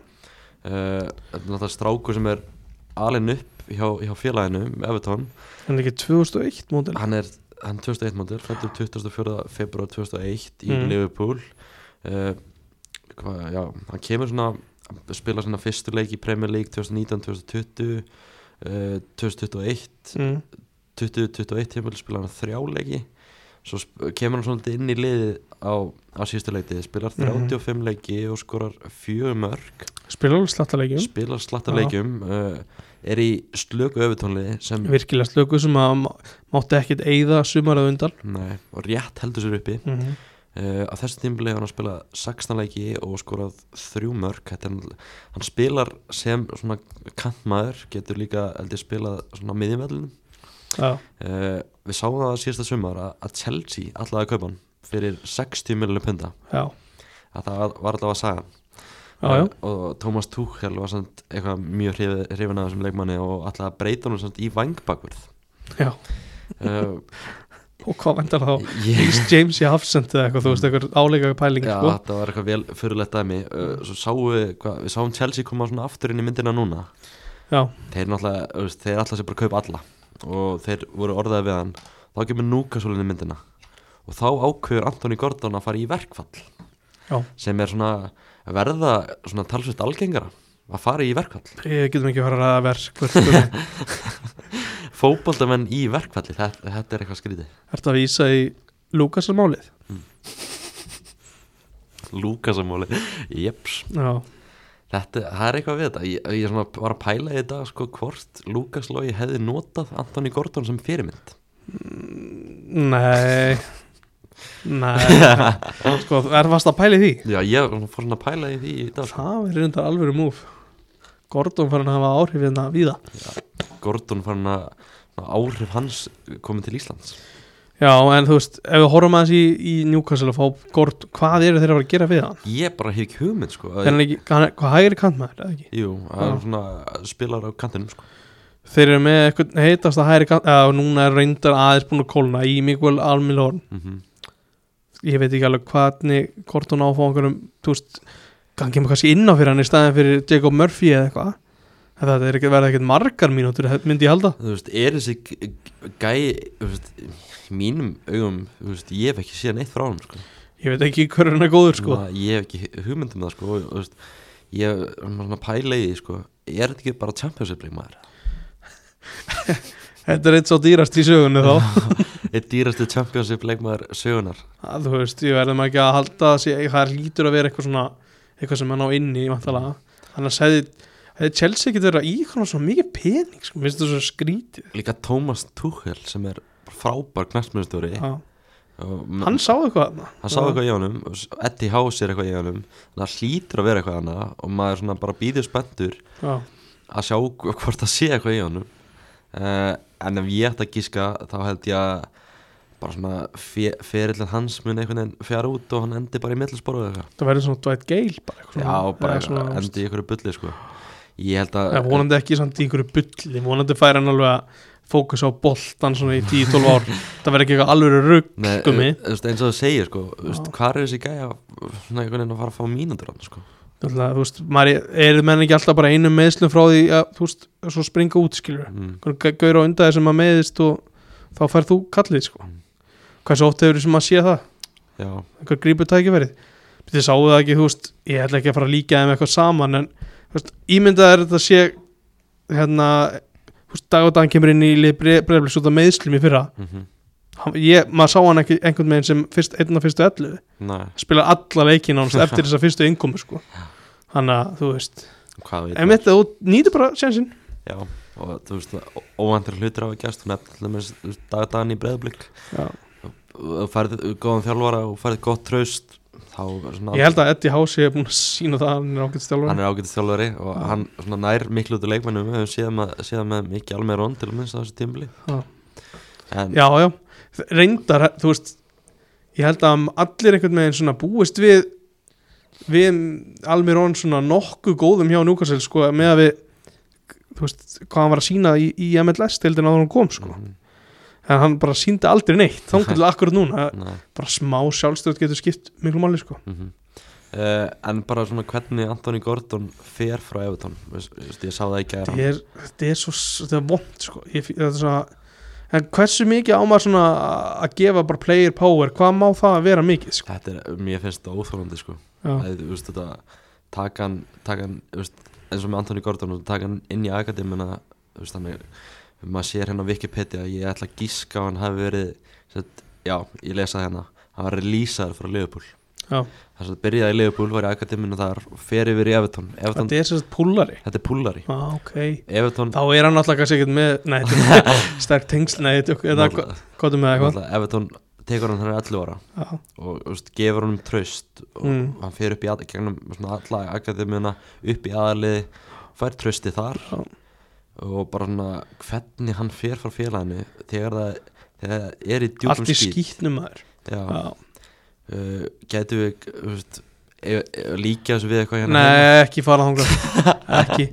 A: Eh, Þetta er náttúrulega strákur sem er alin upp hjá, hjá félaginu Evertón,
B: hann er ekki 2001 mótil
A: hann er hann 2001 mótil, fættur 24. februar 2001 í
B: Mm.
A: Liverpool uh, hva, já, hann kemur svona hann spilar svona fyrstu leik í Premier League 2019-2020 uh, 2021
B: mm.
A: 2021 tímul spilar hann þrjá leiki svo sp- kemur hann svolítið inn í liðið á, á síðustu leitið, spilar
B: Mhm.
A: 35 leiki og skorar fjögur mörg
B: spila alveg slattalegjum
A: spilar slatta
B: Já.
A: leikjum uh, er í slöku öfutónli sem
B: virkilega slöku sem að má- mátti ekkert eigða sumarað undan
A: nei, og rétt heldur sér uppi
B: mm.
A: Uh, á þessu tímabili hefur hann spilað 16 leiki og skorað þrjú mörg hann, hann spilar sem svona kantmaður, getur líka heldur spilað svona miðjumvellin
B: já,
A: uh, við sáum það síðasta sumar að, að Chelsea allavega kaupa hann fyrir 60 miljonum punta
B: já,
A: að það var- var allavega að saga
B: já, já.
A: og Thomas Tuchel var samt eitthvað mjög hrif- hrifinn af þessum leikmanni og allavega breyta hann samt í vangbakvörð
B: já.
A: uh,
B: og hvað vendar þá
A: ég
B: Reece James í Hafsend eða eitthvað, þú veist, eitthvað áleika pæling,
A: Já,
B: sko,
A: þetta var eitthvað vel fyrirlegt dæmi uh, Svo sáum við, hva, við sáum Chelsea koma svona aftur inn í myndina núna
B: já,
A: Þeir náttúrulega, þú veist, þeir alltaf sem bara kaupa alla Og þeir voru orðaði við hann Þá kemur Newcastle inn í myndina Og þá ákveður Anthony Gordon að fara í verkfall
B: já
A: Sem er svona að verða svona talsvist algengara Að fara í verkfall
B: ég getum ekki að fara að verk er
A: Fótboltamenn í verkfalli, þetta, þetta er eitthvað skrítið
B: þetta að vísa í Lukasar málið
A: Lúkasamáli, jeps
B: já,
A: Þetta, það er eitthvað við þetta Ég, ég svona var að pæla í þetta sko hvort Lukas Lógi hefði notað Anthony Gordon sem fyrirmynd
B: nei nei sko, er fast að pæli því
A: Já, ég var svona- fór svona að pæla í því í dag sko.
B: það er reyndar alvöru múf Gordon farin að hafa áhrif hérna víða
A: sko. Gordon fann að að áhrif hans komið til Íslands
B: já, en þú veist, ef við horfum aðeins í, í Newcastle og fá Gordon, hvað eru þeir að fara að gera við hann?
A: Ég bara hef ekki hugmynd sko
B: Er hann ekki, hann, er- hvað hægri kant maður, eða ekki?
A: Jú, það
B: Já.
A: er svona spilar á kantinum sko
B: Þeir eru með eitthvað heitast að hægri kant eða núna er reyndar aðeins búin að kólna í Miguel Almilón
A: mm
B: ég veit ekki alveg hvernig Gordon áfá einhverjum, þú veist gangi maður kannski inn á fyrir hann í staðin fyrir Jacob Murphy eða eitthvað En þetta er ekki verið ekkert margar mínútur myndi ég halda
A: Þú veist, er þessi g- g- gæi þú veist, í mínum augum, þú veist, ég hef ekki séð neitt frá hann sko
B: ég veit ekki hver hann er góður sko
A: Svona, ég hef ekki hugmynd um það sko og, þú veist, ég er svona að pæla í því sko er þetta ekki bara championship leik maður
B: þetta er eitt svo dýrast í sögunni þá
A: eitt dýrasti championship leik maður sögunar
B: að, þú veist, ég verðum ekki að halda að sé, það lítur að vera eitthvað svona eitthvað sem hann á inni, vantala annars hefði, hefði Chelsea getur verið að íkona svo mikið pening, sko, minnst þú svo skrítið
A: líka Thomas Tuchel sem er frábær knastmjöðstjóri
B: Já.
A: hann,
B: hann sá eitthvað þarna.
A: hann sá eitthvað í honum Eddie House er eitthvað í honum þannig að hlýtur að vera eitthvað hana og maður svona bara býður spenntur
B: já,
A: að sjá hvort það sé eitthvað í honum uh, en ef ég ætti að gíska þá held ég að bara svona fe- ferillin hans mun einhvern veginn fjara út og hann endi bara í millisporu eða eitthvað
B: það verður svona Dwight Gale bara eitthvað svona-
A: Já, bara
B: eða svona,
A: endi í einhverju bulli sko Ég held að
B: eða vonandi ekki samt í einhverju bulli vonandi fær hann alveg að fókus á boltan svona í 10-12 ár það verður ekki eitthvað sko, alveg
A: Nei,
B: ruggummi
A: eh, þú veist, eins og þú segir sko þú veist, Hvar er þessi gæja svona einhvern veginn að fara að fá mínútur hann sko
B: Náttúrulega, þú veist, maður eru menn ekki alltaf bara einum meðslum frá því að, þú veist, svo springa út, skilur
A: mm.
B: einhvern gaur á undan þér sem að meðist og þá færð þú kallið, sko
A: Mm.
B: hvað svo oft hefur sem að sé það,
A: Já,
B: einhver grípur tækifærið þið sáu það ekki, þú veist, ég ætla ekki að fara að líka þeim eitthvað saman, en þú veist, ímyndað er þetta sé hérna, þú veist, dag og dagann kemur inn í breyflis út af meðslum í fyrra
A: mm -hmm.
B: Hann- ég, maður sá hann ekki einhvern veginn sem fyrst, einn af fyrstu ellu
A: næ,
B: spila alla leikin ánast eftir þessa fyrstu innkomu sko. þannig að, þú veist
A: hvað veit
B: Emitt, þú nýtur bara sjansinn
A: maður? Já, og þú veist, óvandur hlutur á að gæst Hún eftir með dagdagan í breðblik Þú færið góðan þjálfara og færið gott traust Þá er svona
B: Ég held að Eddie House er búin að sína það að hann er ágætt stjálfur
A: Hann er ágætið þjálfari og hann svona nær miklu út úr leikmennum Við höfum séð með, séð með mikið alveg rón til að minnst á þessu tímbli
B: Já.
A: En
B: Já, já, reyndar, þú veist Ég held að allir einhvern veginn svona búist við við Almirón svona nokkuð góðum hjá Newcastle sko með að við þú veist, hvað hann var að sína í, í MLS tildin að hann kom sko
A: Mhm.
B: en hann bara síndi aldrei neitt, þá til akkur núna
A: Nei
B: bara smá sjálfstöð getur skipt miklu máli sko
A: mm en bara svona hvernig Anthony Gordon fer frá Evertón Veist- veist, ég sá það ekki að
B: þetta er, þetta er svo þetta er vond sko ég, fí- þetta er svona, en hversu mikið á maður svona að gefa bara player power hvað má það vera mikið sko
A: þetta er, mér finnst þetta óþólandi sko
B: já,
A: að, veist, þetta, taka hann, taka hann veist, eins og með Anthony Gordon taka hann inn í akademina veist, hann er, maður sér hérna á Wikipedia ég ætla að gíska að hann hafi verið sett, já, ég lesaði hérna hann var lýsaður frá Liverpool
B: já.
A: þess að byrjaði í Liverpool, var í akademina þar og fer yfir í Evertón Evertón,
B: þetta er sérst púlari
A: þetta er púlari
B: já, Ah, ok
A: Evertón
B: þá er hann alltaf kannski ekkert með nei, þetta er sterk tengsl nei, þetta er ok- eða hvað hvað er með um það eitthvað
A: Evertón tekur hann þegar 11 ára
B: já,
A: og þú veist, gefur honum traust og
B: Mm.
A: hann fer upp í að, gegnum svona alla akademíuna upp í aðaliði fær trausti þar
B: Já.
A: og bara svona hvernig hann fer frá félaginu þegar það þegar það er í djúkum
B: allt í
A: skít,
B: skýtnum maður
A: Já,
B: já.
A: uh, getum við þú veist, ef, ef, líka þessu við eitthvað hérna heima?
B: Nei, ekki fara þangað Ekki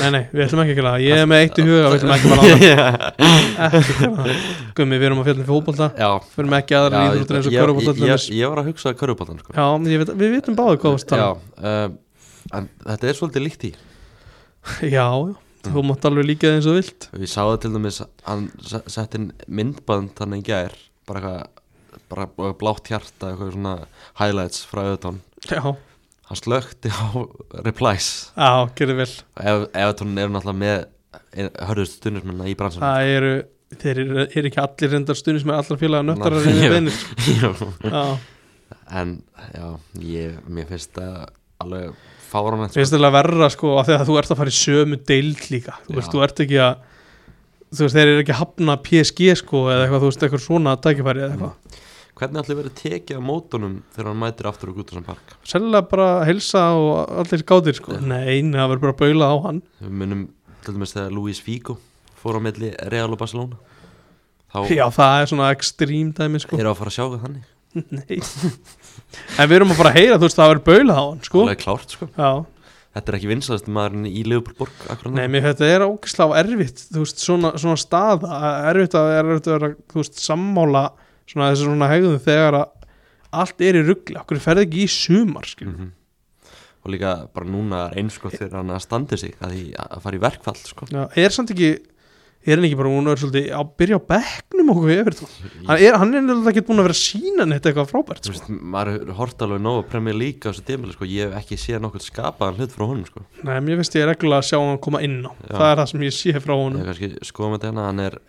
B: Nei, nei, við ætlum ekki að gera það Ég er með eitt í huga, við ætlum ekki að fara þangað Ekki að gera það Gummi, við erum að fjallin fyrir fótbolta
A: Hérna? Já,
B: Fyrir með ekki aðra
A: já,
B: lífrútur eins og
A: ég-
B: körfbólta
A: ég, ég, ég var að hugsa körubóttan sko.
B: Já, ég veit, við vitum báðu hvað um? það
A: Já,
B: var
A: uh, en þetta er svolítið líkt í
B: Já, já,
A: Mm.
B: þú mátt alveg líka það eins og þú vilt
A: Ég sá það til dæmis hann se- setti inn myndband þannig í gær bara eitthvað bara b- blátt hjarta eitthvað svona highlights frá Evertón
B: Já,
A: hann slökti á replies
B: já, gerðu vel
A: Ev- Evertón eru náttúrulega með hörðust stunismenna í bransan
B: Það eru, þeir eru, eru ekki allir reyndar stunis með allra félaga nöttarar
A: Nei,
B: en
A: já.
B: við beinir Já,
A: en já, ég, mér finnst það alveg fáranett
B: Mér finnst þetta verra sko af því að þú ert að fara í sömu deild líka þú veist,
A: Já.
B: þú ert ekki að þú veist, þeir eru ekki að hafna PSG sko eða eitthvað, þú veist, eitthvað svona tækifæri eða eitthvað
A: hvernig ætli verið tekið á mótunum þegar hann mætir aftur á Gútusan Park
B: sennilega bara helsa og allir gátir sko, nei, nei, það verður bara að baula á hann
A: við munum til dæmis þegar Luis Figo fór á milli Real og Barcelona þá
B: já, það er svona ekstrím dæmi sko
A: eru að fara að sjá hvað þannig
B: nei en við erum að fara að heyra, þú veist, það verður baula á hann sko,
A: alveg klárt sko
B: já,
A: þetta er ekki vinsaðast maðurinn í Liverpool borg akkurat
B: nei, mér þetta er ógislega erfitt, þú veist, svona, svona staða erfitt að, erfitt að vera, þú veist, sammála svona þessi svona hegðum þegar að allt er í ruggli, okkur ferði ekki í sumar skilur
A: Mhm. og líka bara núna er eins sko þegar hann að standi sig að því að fara í verkfall sko
B: Já, er samt ekki er hann ekki bara hún er svolítið að byrja á bekknum okkur við Evertón hann er, hann er nefnilega ekki búin að vera að sína neitt eitthvað frábært
A: Þú
B: sko.
A: veist, maður hort alveg nóg að premja líka á þessu tímil sko, ég hef ekki séð nokkuð skapaðan hlut frá honum sko
B: Nei, mér finnst ég reglulega að sjá hann koma inn á
A: Já.
B: það er það sem ég sé frá
A: ég
B: honum
A: hef kannski skoðum þetta hérna, hann er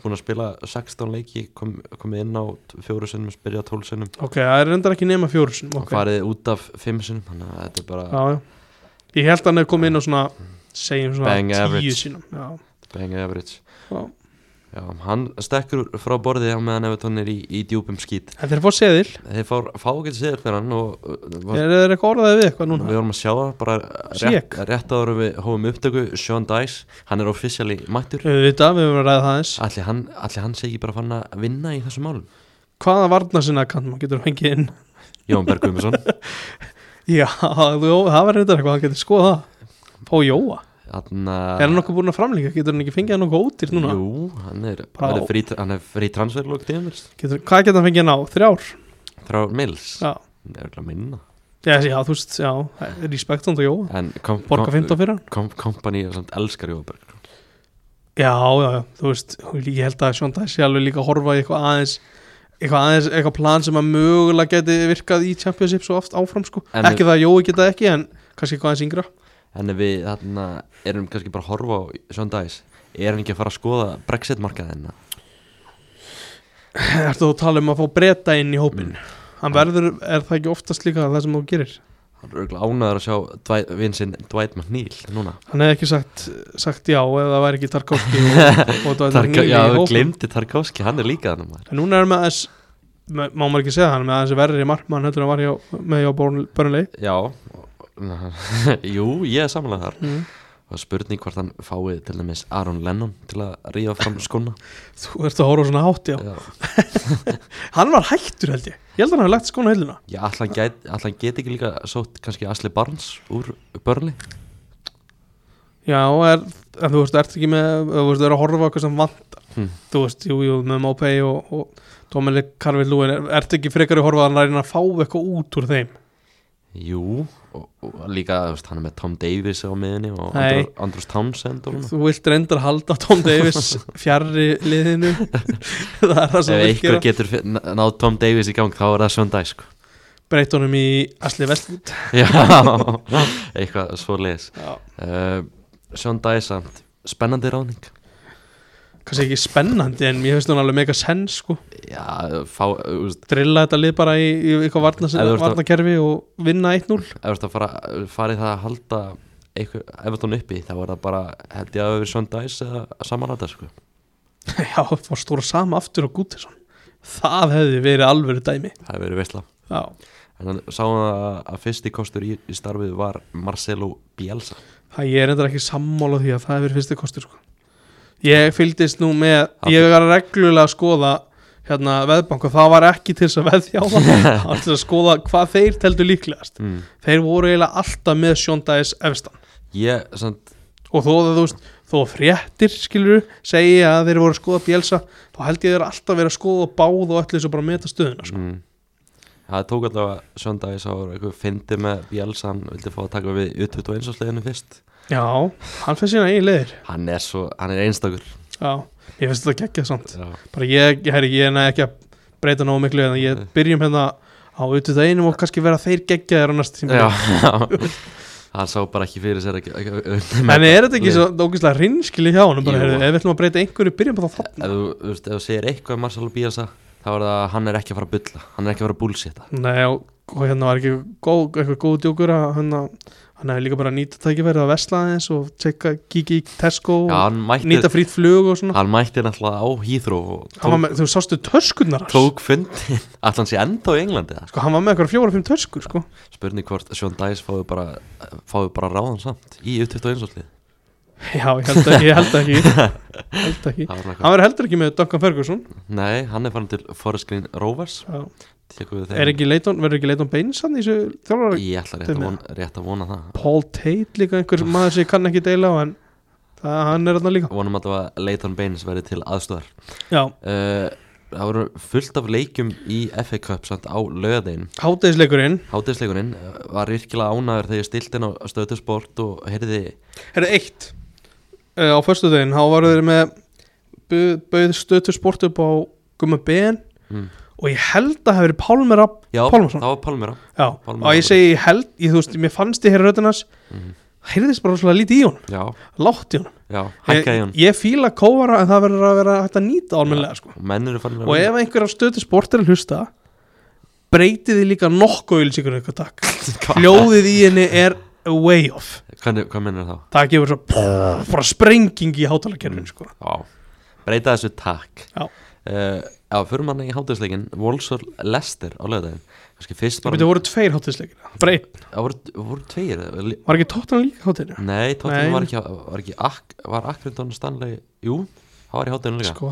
A: búin að spila 16 leiki kom, komið inn á t- fjóru sinnum, spyrja 12 sinnum
B: ok, það er reyndar ekki nema fjóru sinum
A: og
B: okay.
A: farið út af 5 sinnum þannig að þetta er bara
B: já, já. ég held að hann hef komið inn á svona segjum svona
A: Bang
B: tíu
A: average.
B: sinum já,
A: bang average
B: já.
A: Já, hann stekkur frá borðið á meðan ef hann er í, í djúpum skít
B: en þeir fá seðil,
A: þeir fá, fá ekki sér fyrir hann og uh, var,
B: er þeir eitthvað orðaðið við eitthvað núna
A: við vorum að sjá það bara rétt,
B: Sék.
A: rétt áður en við hófum upptöku Sean Dice, hann er officially mættur
B: auðvitað, við höfum að ræða það eins
A: allir hann, ætli hann sé ekki bara fann að vinna í þessum málum
B: hvaða varna sinna kann maður getur fengið inn
A: Jón Berg Guðmundsson
B: já, þú, það var reyndar eitthvað, hann getur skoða það fá Jóa
A: Þarna,
B: Er hann okkur búin að framlíka? Getur hann ekki fengið hann okkur ódýrt núna?
A: Ah. Jú, hann er,
B: Brá.
A: hann er frí, hann er frí transferlók tíðumist
B: Getur, hvað getur hann fengið hann á? Þrjár?
A: Þrá Mills
B: Já,
A: Það er örugglega minna
B: já, já þú veist, já, respekt hann og jó
A: En kom,
B: Borga
A: eh,
B: 15 fyrir hann?
A: kom, kompani er samt elskar Jón Berg
B: Já, já, já, þú veist, ég held að Sjón Dæs sé alveg líka að horfa í eitthvað aðeins eitthvað aðeins, eitthvað plan sem að mögulega geti virkað í Championship svo oft áfram sko
A: En
B: Ekki það að Jói geta ekki, en kannski eitthvað aðeins yngra
A: En ef við þarna, erum kannski bara að horfa á Sean Dice Er hann ekki að fara að skoða Brexit markaðina?
B: Ertu þú að tala um að fá breyta inn í hópin?
A: Mm.
B: Hann verður, er það ekki oftast líka það sem þú gerir?
A: Hann er auðvitað ánæður að sjá Dwight, vinsinn Dwight McNeil núna
B: Hann hefði ekki sagt, sagt já ef það væri ekki Tarkovski og, og Dwight
A: Tarka,
B: McNeil í
A: Já, við
B: hópnum.
A: glemdi Tarkovski, hann er líka þannig maður
B: En núna er hann með aðeins með- má maður ekki segja það, hann er með aðeins verri markmann heldur en var hjá, með hjá Börnlei
A: Já, og- jú, ég er samanlega þar
B: mm.
A: Og spurning hvort hann fái til dæmis Aron Lennon til að ríða fram skona
B: Þú ert að horfa svona hátt, já
A: Já,
B: Hann var hættur held ég, ég held að hann hafi lagt skóna á hilluna
A: já ætla hann get, ætli hann geti ekki líka sótt kannski Asli Barnes úr Burnley
B: Já, er, en þú veist, ert ekki með þú veist, þú er að horfa á eitthvað sem vant
A: Hmm.
B: Þú veist, jú, jú, með Mópei og, og Tómeli Karvið Lúin, er, ert ekki frekar að horfa að hann reyna að fá eitthvað út úr þeim
A: Jú, og, og líka þú veist, hann er með Tom Davis á miðinni og
B: Nei.
A: Andrew- Andrews Townsend og svona
B: Þú vilt reyndar halda Tom Davis fjarrri liðinu Það er það sem
A: Ef
B: þú vilt
A: einhver
B: gera
A: getur fi- ná- náð Tom Davis í gang þá er það Sean Dice sko.
B: Breyt honum í Asli Vestlund
A: Já, eitthvað svo leiðis
B: Já
A: uh, Sean Dice samt, spennandi ráning
B: kannski ekki spennandi en mér finnst hún alveg mega senn sko,
A: Já, fá, úst,
B: drilla þetta lið bara í, í eitthvað varna,
A: Ef þú ert að-
B: varnakerfi og vinna 1-0
A: ef þetta fara, farið það að halda eitthvað, ef þetta uppi þá er það bara, held ég að við Sean Dice eða samanræta sko.
B: já, fór stóra sama aftur og Gútesson það hefði verið alvöru dæmi
A: það hefur verið veistla
B: já,
A: en hann sáum að, að fyrsti kostur í, í starfið var Marcelo Bielsa
B: það ég er endur ekki sammála því að það hefur verið fyrsti kostur sko. ég fylgdist nú með
A: Það-
B: ég var reglulega að skoða hérna veðbank og það var ekki til þess að veðja á það það var til þess að skoða hvað þeir teldu líklegast
A: mm.
B: þeir voru eiginlega alltaf með sjóndæðis efstan
A: ég, samt,
B: og þó að þú veist þó að fréttir skilur segja að þeir voru að skoða bjelsa þá held ég þeir alltaf verið að skoða báð og öllu þessu bara að meta stöðuna sko.
A: mm. það tók allavega sjöndag ég sá eitthvað fyndi með Bielsa hann vildi fá að taka við U21 sliðinu fyrst
B: já, hann fyrir sína eigin leiðir
A: hann er svo, hann er einstakur
B: já, ég finnst þetta geggjað samt
A: Já.
B: bara ég, herri, ég næ ekki að breyta náðu miklu en
A: Mm.
B: ég byrjum hérna á auðvitað einum og kannski vera þeir geggjaðir á næsta tíma
A: Já, hann sá bara ekki fyrir sér ekki, ekki,
B: en er þetta ekki svo ógæslega rinskili hjá honum bara,
A: Jú.
B: herri, ef við ætlum að breyta einhverju byrjum bara þá
A: Ef
B: þarna
A: þú, þú veist, ef þú segir eitthvað um Marcelo Bielsa þá er það að hann er ekki að fara að bulla hann er ekki að fara að bullsita
B: Nei, og, og hérna var ekki góð, eitthvað góð djókur að hann, hann hefði líka bara nýta tækifærið að vesla aðeins og tjekka, kíkja í Tesco
A: Já,
B: og
A: hann mætti,
B: nýta frýtt flug og svona
A: hann mætti náttúrulega á Hýþró og
B: hann var
A: tók,
B: með, þú sástu töskunnar hans.
A: tók fundin að hann sé enda á Englandi eða?
B: sko, hann var með eitthvað fjóra fimm töskur sko.
A: spurning hvort Sean Dice fáið bara, fáið bara ráðan samt í U21 áslið
B: já, ég held ekki, ég held ekki, held ekki. hann verður heldur ekki með Duncan Ferguson
A: Nei, hann er farin til Forest Green Rovers
B: Já.
A: tekur við
B: er
A: þeim
B: ekki Leiton, verður ekki Leiton Baines hann í þessu þjálfara
A: Ég ætla rétt að,
B: Þeim-
A: vona, rétt að vona það
B: Paul Tate líka einhver maður sem ég kann ekki deila á en það, hann er þarna líka
A: vonum að það var Leighton Baines verið til aðstöðar
B: já,
A: uh, Það voru fullt af leikjum í FA Cup samt á löðin
B: hátegisleikurinn
A: Hátiðsleikurinn var virkilega ánæður þegar ég stilti hann á stöðtusport og heyrði
B: Herra eitt uh, á förstu daginn, þá varu þeir með bu- bauð stötu sport upp á Gumma Ben
A: mm.
B: og ég held að það hafi verið Pálmer Rapp
A: Já,
B: Pálmarsson.
A: það var Pálmera
B: já,
A: Pálmer
B: og
A: Rapp.
B: ég segi ég held, ég, þú veist, mér fannst ég herra röddunars
A: Mhm.
B: það heyrðist bara svona lítið í hún
A: Já,
B: látt í hún,
A: já, hækkaði
B: ég,
A: hann
B: ég fíla kóvara en það verður að vera hægt að nýta álmennilega sko.
A: Menn eru farin
B: og ef einhver á stötu sport er að hlusta breytið þið líka nokkuð ylsingur eitthvað takk, hljóðið í henni er way off,
A: Hvað, hvað mennir þá?
B: það gefur svo bara sprenging í hátalarkerfinu sko.
A: Já, breyta þessu takk
B: Já.
A: Eh, Já, fyrir manni í hátiðsleikin Wolfsvall Lester á löðin Kannski fyrst
B: Það
A: bara
B: byrja, voru tveir hátíðsleikina Bara einn,
A: Það voru, voru tveir eða- li-
B: var ekki tóttan líka hátíðinu?
A: Nei,
B: Nei.
A: tóttunum var ekki, var ekki ak, Var Akrinton Stanley, jú Það var í hátiðinu líka
B: Sko,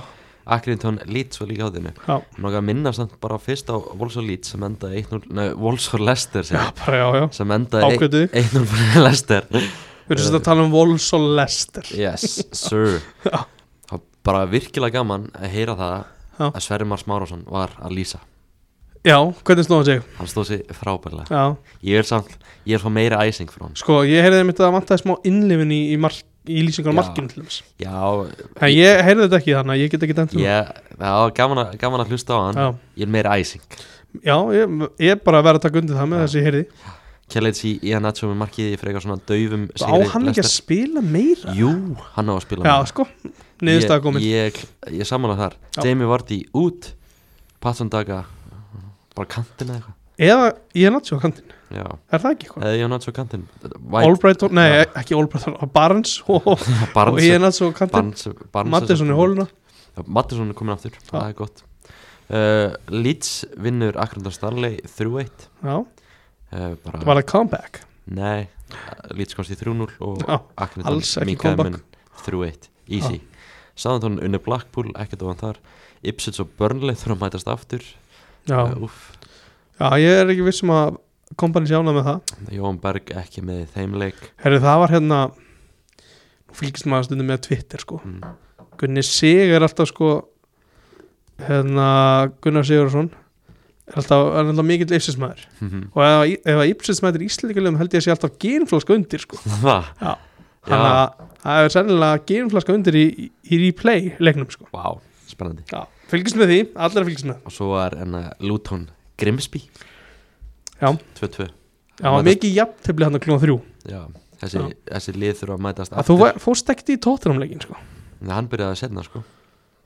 A: Akrinton Leeds var líka í hátiðinu
B: já,
A: Nóka að minna samt bara fyrst á Wolfsvall Leeds sem endaði 1-0, nei, Wolfsvall Leicester
B: já,
A: sem,
B: bara já, já
A: sem endaði ein-
B: Ákveðið,
A: 1-0 fyrir Leicester
B: við erum svolítið að tala um Vols og Lester
A: Yes, sir
B: Já.
A: Það var bara virkilega gaman að heyra það
B: Já.
A: að Sverri Mars Márásson var að lýsa
B: Já, hvernig snóða sig?
A: Hann stóð sér frábærlega
B: Já,
A: Ég er samt, ég er fá meira æsing frá hann
B: sko, ég heyrði einmitt að það vantaði smá innlifin í, í, mark, í lýsingar á
A: Já.
B: markinu til þess
A: Já,
B: En ég heyrði þetta ekki þannig að ég get ekki dæmt um
A: ég, það var gaman, að- gaman að hlusta á hann
B: það.
A: Ég er meira æsing
B: Já, já ég, ég er bara að vera að taka undir það með
A: Já.
B: þess að ég heyrði
A: Kellets í Ian Nacho með markið í frekar svona daufum
B: Á hann ekki að spila meira?
A: Jú, hann á að spila
B: Já,
A: meira.
B: sko, niðurstaða komin
A: Ég, ég, ég samanlega þar
B: Já.
A: Jamie Vardy út Patson Daga Bara kantinn eða eitthvað
B: Eða, ég er náttúrulega á kantinu,
A: Já,
B: er það ekki eitthvað?
A: eða ég hann svo kantinn White,
B: Albright, nei,
A: Já.
B: ekki Albright, Barnes og, og
A: Barnes
B: ég er náttúrulega á kantinu
A: Barnes, Barnes
B: Mattisson í hóluna
A: Mattisson er komin aftur, það er gott uh, Leeds vinnur Akrundar Stanley 3-1
B: Já,
A: uh, bara,
B: það var að comeback
A: Nei, Leeds komst í 3-0 og
B: Já,
A: Akrundar
B: alls ekki
A: minkaði
B: comeback.
A: mun 3-1 Easy Sáðan tónu unni Blackpool, ekkert ofan þar Ipsits og Burnley þurfa að mætast aftur
B: Já,
A: uh, Úff
B: já ég er ekki vissum að kompani sjána með það
A: Jóhann Berg ekki með í þeim leik
B: Herri, það var hérna Nú fylgist maður stundum með Twitter sko
A: mm.
B: Gunni Sig er alltaf sko hérna Gunnar Sigursson er alltaf, er alltaf mikill ipsismæður og ef, ef að ipsismæður í Íslandikulegum held ég að sé alltaf gerinflaska undir sko
A: Það?
B: Já.
A: Já,
B: þannig að það er sennilega gerinflaska undir í, í, í replay leiknum sko
A: vá, spennandi
B: Já, fylgist með því, allir að fylgist með
A: Og svo var enna Luton Grimsby
B: Já.
A: 2-2
B: Já, það var mikið jafntefli hann að klúna þrjú
A: Já, þessi,
B: Já.
A: þessi lið þurfa að mætast
B: að þú var- fórst ekkert í tóttunumleikin sko
A: Nei, hann byrjaði að setna sko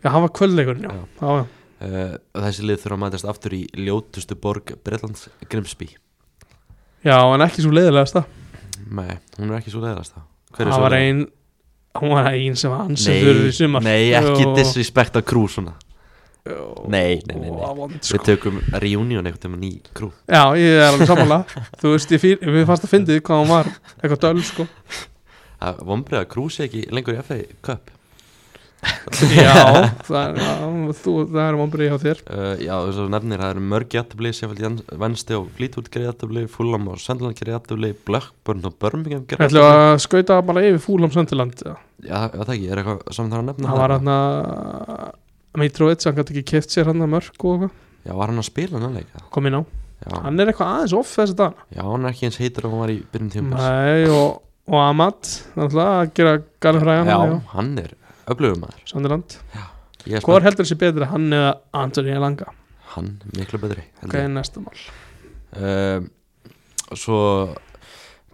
B: Já, hann var kvöldleikurinn, já.
A: Já.
B: Já. Já,
A: uh, Þessi lið þurfa að mætast aftur í ljótustu borg Bretlands Grimsby
B: já, en ekki svo leiðilegast það
A: Nei, hún er ekki svo leiðast það
B: Það var ein, hún var ein sem var ansið fyrir í
A: Nei,
B: sumar
A: nei, ekki
B: Og-
A: disrespect að krú svona Nei, nei, nei, nei.
B: Ó, vond, sko.
A: Við tökum reunion einhvern tímann í grú
B: Já, ég er alveg samanlega Þú veist, ég fyrir, við fannst að fyndið hvað hún var Eitthvað döl, sko
A: að vombrið að krú sé ekki lengur í FA Cup
B: Já, það er, já, þú, það er vombrið hjá þér
A: uh, Já, þess að þú nefnir, það eru mörg jættabli Sjáfæld Vensti og Flítúrt gerði jættabli Fulham og Sandland gerði jættabli Blackburn og Birmingham gerði
B: Ætlum við að skauta bara yfir fúlam Söndiland
A: Já, já, það ekki, er eitthvað saman þar að nefna
B: Hann
A: það?
B: var hann að Mitrovic, hann gæti ekki keft sér hann að mörk og eitthvað.
A: Já, var hann að spila hann leika
B: kom inn á
A: já.
B: Hann er eitthvað aðeins off þess að dana
A: já, hann er ekki eins heitur og hann var í byrjum tíma
B: Nei, og, og Amat Náttúrulega að gera galfræðan
A: Já,
B: já.
A: hann er öflugum maður
B: Söndiland
A: Ég er
B: Hvor
A: spennt,
B: heldur þessi betri, hann eða Antoni Langa
A: hann er miklu betri
B: Ok, næsta mál
A: um, Svo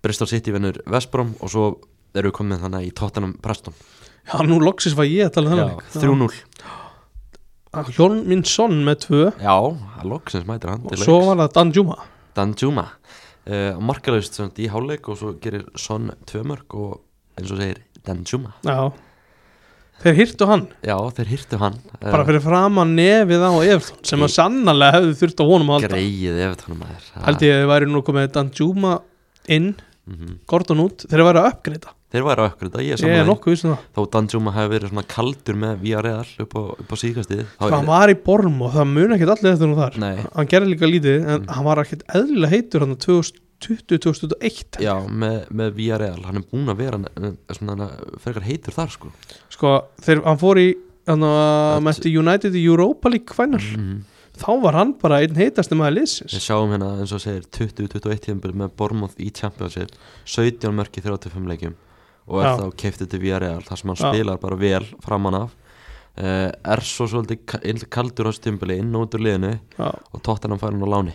A: Bristol City vinnur Vestbrom og svo erum við komin þannig í Tottenham Preston
B: Já, nú loksis var ég að tala um
A: Já,
B: þennan leik.
A: 3-0
B: Hjón Minnsson með tvö
A: Já, að loksins mætir hann
B: og
A: til
B: svo
A: leiks
B: var það Dan Juma
A: Dan Juma uh, Markalaust sem sagt í hálfleik og svo gerir Son tvö mörg og eins og segir Dan Juma
B: Já Þeir hýrtu hann
A: Já, þeir hýrtu hann Ehm,
B: bara fyrir fram að nefið á Everton sem að
A: Í-
B: sannarlega hefðu þurft á honum að halda
A: Greið ef þannig maður Það-
B: Held ég að þeir væri nú komið Dan Juma inn,
A: Mhm.
B: Gordon út þeir væri að uppgreita,
A: Þeir væri á ekkur þetta, ég er
B: ég er
A: saman
B: nokkuð vissum það
A: Þó Dan Juma hefur verið svona kaldur með VRL upp á, upp á síkastið
B: Sko, hann var í Borm og það muni ekkert allir þetta nú þar
A: Nei, Mm.
B: hann gerði líka lítið en hann var ekkert eðlilega heitur hann 2020-2021
A: já, með, með VRL Hann er búin að vera eh, svona hann frekar heitur þar sko
B: sko, þegar hann fór í hann
A: Þetta-
B: mætti United í Europa League final
A: Mhm.
B: þá var hann bara einn heitasti maður liðsins
A: Við sjáum hérna eins og segir 20-21 tíðanbyrð með Bormóð í Championship 17 mörki 35 leikjum og er
B: Já.
A: þá keiftið til VRL þar sem hann
B: Já.
A: spilar bara vel framan af uh, er svo svolítið ka- ill- kaldur á stjumbili inn og út úr liðinu
B: já,
A: og tóttan hann fær hann á láni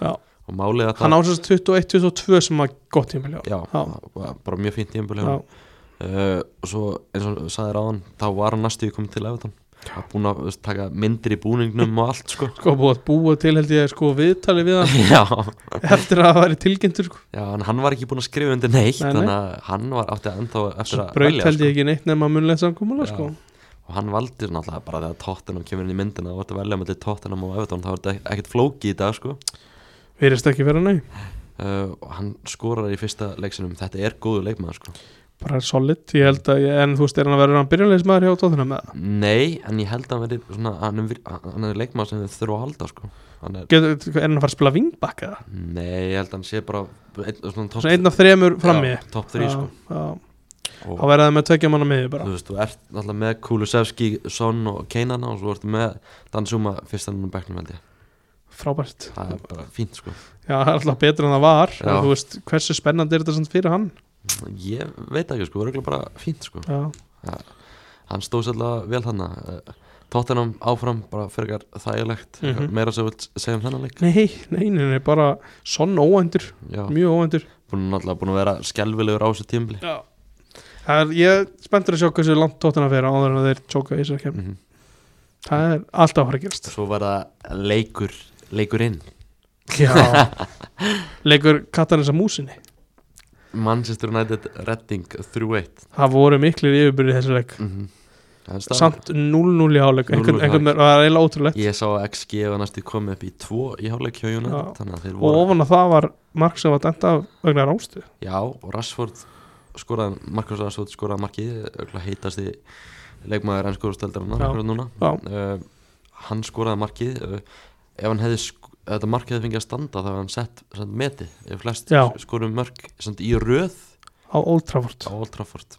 B: já.
A: og málið að
B: hann ásast 21-22 sem var gott tímil já,
A: já,
B: Já.
A: var bara mjög fínt tíðanbyrð
B: já,
A: uh, og svo eins og þú sagðir á hann þá var hann næstu komið til Evertón búin að þú veist, taka myndir í búningnum og allt sko
B: sko búið að búa til held ég sko viðtali við hann
A: já,
B: eftir að það væri tilgjöndur sko.
A: já, en hann var ekki búin að skrifa undir neitt
B: Nei, nei.
A: þannig að hann var átti að ennþá eftir
B: svo
A: að
B: braut
A: velja, sko.
B: held ég ekki neitt nema munlega samkúmula
A: Já.
B: sko.
A: og hann valdi náttúrulega bara þegar Tottenham kemur inn í myndina og vartu að velja með Tottenham og Everton þá er þetta ek- ekkert flóki í dag sko
B: verist ekki vera nei,
A: uh, og hann skorar í fyrsta leiksinum þetta er góðu leikmaður sko
B: bara solid ég held að, ég, en þú veist er hann að vera hann byrjanleismæður hjá tóðuna með
A: nei, en ég held að hann verið svona hann er, vir- hann er leikmaður sem þau þurfa að halda sko hann er,
B: Getur, er hann að fara að spila vingbakk eða?
A: nei, ég held að hann sé bara ein, svona
B: Svona einn af þremur frammi
A: Já, top 3 sko
B: já,
A: og
B: Þá verða það með tvekja manna miði bara
A: þú veist, þú ert náttúrulega með Kulusevski, Son og Keinana og svo ertu með Dan Suma fyrstanum og bekknum held ég
B: Frábært
A: það er bara fínt sko
B: Já, það er alltaf betur en það var
A: Já.
B: en Þú veist, hversu spennandi er þetta samt fyrir hann
A: ég veit ekki sko, það er bara fínt sko
B: Já,
A: hann stóð sérlega vel þannig Tottenham áfram, bara frekar þægilegt mm
B: Mhm.
A: meira sem við segjum þennan leik
B: nei, nei, nei, nei bara Sonn óændur,
A: já,
B: mjög óændur
A: búin náttúrulega búin að vera skelvilegur á þessu tímli
B: Já Það er, ég er spenntur að sjá hversu langt tóttina fyrir áður en að þeir tjóka í þessar kemni
A: Mhm.
B: Það er alltaf að fara að gerast
A: svo var það leikur leikur inn,
B: Já Leikur Katarins að músinni
A: Manchester United Redding 3-1
B: Það voru miklir yfirbyrði þessu leik
A: mm -hmm.
B: Mhm. Samt 0-0 í háleik
A: 0-0
B: einhvern,
A: í
B: einhvern, Það er eiginlega ótrúlegt
A: ég sá að XG var næstu komið upp í 2 í hálfleik hjá United, þannig að þeir
B: og
A: voru
B: ofan að það var mark sem var dæmt af vegna rámstu
A: já, og Rashford skoraði, Marcus Rashford skoraði markið örugglega heitasti leikmaður
B: Já.
A: ennskóðusteldarinn núna
B: já,
A: uh, hann skoraði markið uh, ef hann hefði sk- ef þetta markið hefði fengið að standa þá hefði hann sett, sett meti ef flest
B: Já.
A: skorum mörk samt, í röð
B: á Old Trafford
A: á Old Trafford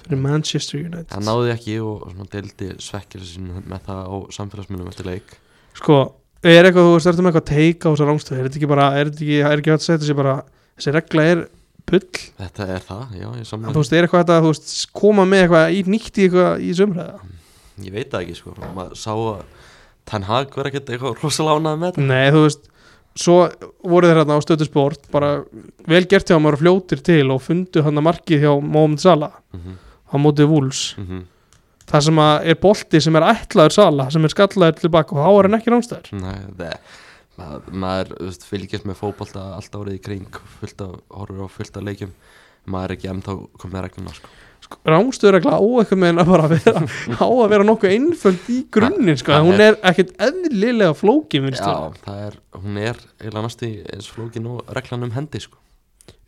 B: fyrir Manchester United
A: hann náði ekki og svona, deildi svekkir sín með það á samfélagsmiðlum eftir leik
B: sko, er eitthvað, þú veist, ertu með eitthvað teika á þessar rámstu, er þetta ekki bara er þetta ekki, er ekki hægt að segja þessi bara þessi regla er bull,
A: þetta er það, já, ég
B: en þú
A: samlega
B: veist, er eitthvað hægt að þú veist, koma með eitthvað í nýtt í eitthvað í sumræða
A: ég veit það ekki sko, og maður sá að Ten Hag verið ekkert eitthvað rosalánað með þetta
B: nei, þú veist, svo voru þeir hérna á stöðusport, bara vel gert hjá maður fljótir til og fundu hann að markið hjá Mohamed Salah
A: mm -hmm.
B: á móti Wolves
A: mhm.
B: það sem að er bolti sem er ætlaður sala sem er skallaður tilbaka og þá er hann ekki rámstæður
A: Nei, það maður, maður þú veist, fylgjast með fótbolta allt árið í kring fullt af, horfur á fullt af leikjum maður er ekki ennþá komið að regluna sko.
B: sko, rángstöðregla á eitthvað með henn að bara vera á að vera nokkuð einföld í grunnin sko.
A: Það- það
B: hún er ekkert eðlilega flókin finnst mér.
A: Já, það er, hún er eiginlega næstu í eins flókin og reglan um hendi sko.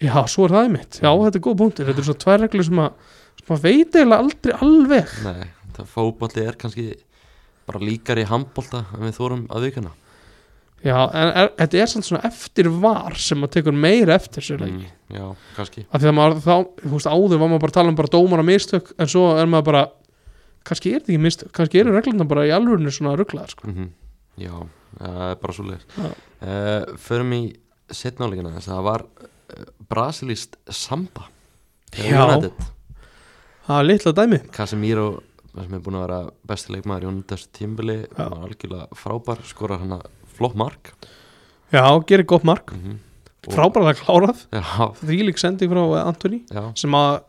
B: já, svo er það einmitt já, þetta er góð punktur, þetta er svona tvær reglur sem að sem að veit eiginlega aldrei alveg
A: Nei, það fótbolti er kannski bara líkari handbolta en við þórum að vikana
B: já, en er, þetta er samt svona eftir var sem að tekur meira eftir sér mm.
A: mm, Já, kannski
B: af því að maður þá, þú veist, áður var maður bara að tala um bara dómar og mistök, en svo er maður bara kannski er þetta ekki mistök, kannski eru reglurna bara í alvörinu svona rugglaðar sko.
A: mm Já, það er bara svo leiðis
B: Já.
A: uh, Förum í setnáleikina þess að það var uh, brasilist samba
B: Já. það er litla dæmi
A: Casemiro sem er búin að vera besti leikmaður í honum þessu tímbili, hann var algjörlega frábær skorar hann að flott mark
B: já, gerir gott mark
A: mm Og-
B: frábæra það klárað
A: Já,
B: þvílík sending frá Antoni
A: já,
B: sem að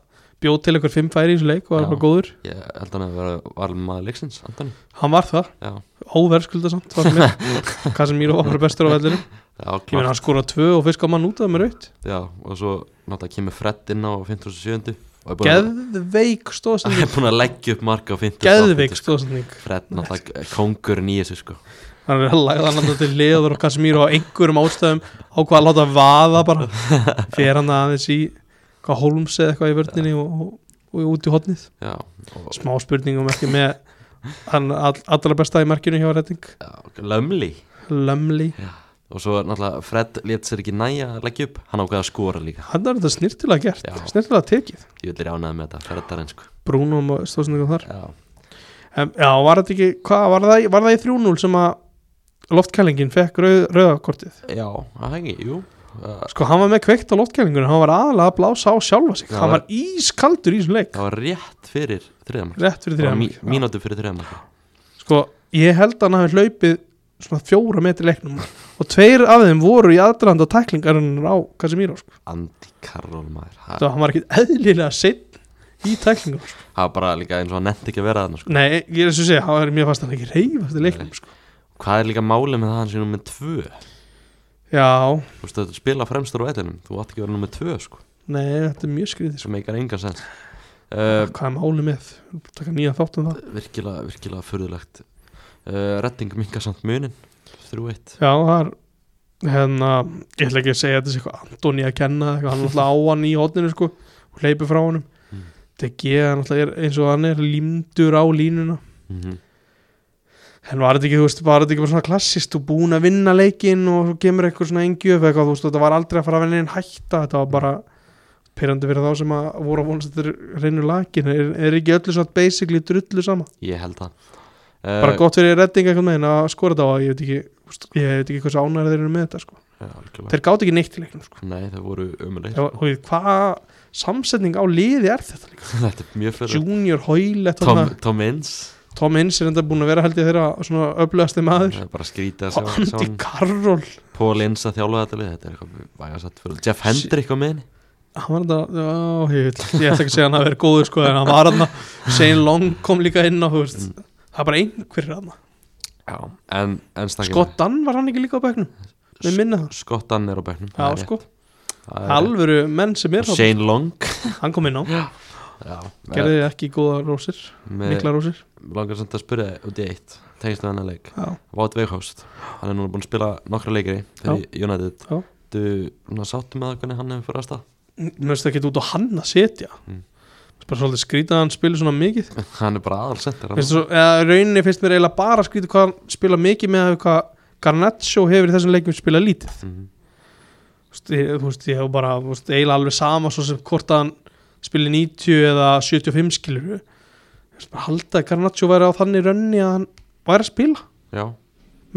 B: bjóð til einhver fimm færi í þessu leik og var
A: Já.
B: bara góður
A: ég held hann að vera valmaður leiksins, Antoni
B: hann var það,
A: Já,
B: óverðskuldasamt hvað sem mér var bara bestur á vellinu
A: já,
B: ég meina
A: klart
B: hann skora tvö og fisk á mann út af mér aukt
A: Já, og svo náttúrulega kemur Fred inn á 57. og er búin að-
B: geðveik
A: er
B: stóðsending
A: búin að leggja upp marka á 50
B: geðveik stóðsending
A: Fred náttúrulega kongurinn í þessu sko
B: hann er að læða hann alltaf til liður og Casemiro á einhverjum ástæðum á hvað að láta vaða bara fer hann aðeins í hvað Holmes eða eitthvað í vördninni og, og, og út í hotnið
A: Já, og
B: smá spurningum ekki með hann all, allra besta í markinu hjá Redding
A: lömli
B: Lömli
A: Og svo náttúrulega Fred lét sér ekki næja að leggja upp Hann ákveða að skora líka
B: hann er þetta snirtilega gert,
A: Já.
B: snirtilega tekið
A: Ég vil rjánaði með þetta, Freddarinn sko
B: Bruno og stóðsendingum þar
A: Já,
B: um, já, var þetta ekki, hvað, var það, í- var það í 3-0 sem að loftkælingin fekk rauð, rauðakortið
A: já, það hengi, jú Það
B: sko, hann var með kveikt á loftkælingunum hann var aðalega að blása á sjálfa sig
A: Já,
B: hann
A: var-
B: var ískaldur í þessum leik
A: það var rétt fyrir þriðamark
B: rétt fyrir þrjá mark. Já.
A: Mínúti fyrir þriðamark
B: sko, ég held að hann hafi hlaupið svona fjóra metri leiknum og tveir af þeim voru í aðdraðanda tæklingarinn á Casemiro, sko.
A: Andi Karol maður Það
B: það hann var ekkit eðlilega sitt í tæklingum sko.
A: það var bara líka eins og hann nefndi ekki að vera þarna sko
B: nei, ég er þess að segja, hann er mjög fast hann ekki reyfast í leiknum,
A: Nei.
B: sko.
A: Hvað er líka málið með það að hann sé nummið tvö?
B: já,
A: Þú veist þetta spila fremstur á vellinum Þú átt ekki að vera nummið tvö sko
B: nei, þetta er mjög skrítið sko.
A: Svo meikar engan sens uh,
B: hvað er málið með, taka nýja þátt um það
A: Virkilega, virkilega furðulegt uh, Redding mingar samt munin 3-1
B: já, það er hérna, ég ætla ekki að segja að þetta sé eitthvað Antoni að kenna, eitthvað, hann er alltaf á hann í hotninu sko, og hleypi frá honum
A: Mm.
B: Degi, hann alltaf er eins og hann er límdur á línuna
A: mm -hmm.
B: En var þetta ekki, þú veist, var þetta ekki bara svona klassist og búin að vinna leikinn og svo kemur eitthvað svona engjöf eitthvað, þú veist, þetta var aldrei að fara að vinna einn hætta, þetta var bara pyrrandi fyrir þá sem að voru að vonast að þetta er reynur lakin, er, er ekki öllu svona basically drullu sama,
A: Ég held það Eh,
B: bara gott fyrir redding eitthvað með að skora þetta og ég veit ekki, þú veist, ég veit ekki hversu ánæri þeir eru með þetta, sko.
A: já, Þeir...
B: Þeir gátt ekki neitt í leiknum, sko.
A: Nei, það voru umleik
B: Þegar, þú veist, hvað samsetning á liði er þetta líka?
A: Þetta er mjög fyrir
B: Junior, Hoyle,
A: Tom,
B: Tom,
A: Tom Inns
B: Tom Inns er enda búin að vera held ég þeirra svona öflugasti maður.
A: Það er bara skrítið að
B: Og
A: sjá- sjá
B: Andy
A: hann
B: Carroll
A: Paul Inns að þjálfa þetta lið Þetta er eitthvað vægasatt fyrir Jeff Hendrick á miðinni
B: hann var þetta, já, ég veit ég ætla ekki að segja hann að vera góður sko en hann var hann Shane Long kom líka inn á þú veist,
A: Mm.
B: það er bara einhver hann
A: Já En, en stakkin
B: Scott Dunn var hann ekki líka á bekknum við minna það,
A: Skottan er á bæknum
B: já sko alvöru menn sem er hann,
A: Shane Long
B: hann kom inn á,
A: Já
B: gerði ekki góða rósir
A: Mikla
B: mikla rósir,
A: Langar samt að spyrja þig út í eitt Tengist við hennar leik
B: já,
A: Wout Weghorst Hann er núna búin að spila nokkra leikri Fyrir United
B: Já.
A: Þú svona, sáttu með það hvernig hann hefur fyrir að stað
B: mér finnst það ekki út á hann að setja
A: Mm.
B: bara svolítið skrítið að hann spila svona mikið
A: Hann er bara aðalsendir
B: finnst svo, eða rauninni finnst mér eiginlega bara skrítið hvað hann spila mikið með að hvað Garnaccio hefur í þessum leikum spilað lítið
A: mm,
B: Þú veist, ég- þú veist, ég hef bara þú veist, eiginlega alveg sama svo sem hvort að hann spili 90 eða 75 skilur við veist, bara halda að Garnaccio væri á þannig rönni að hann væri að spila
A: Já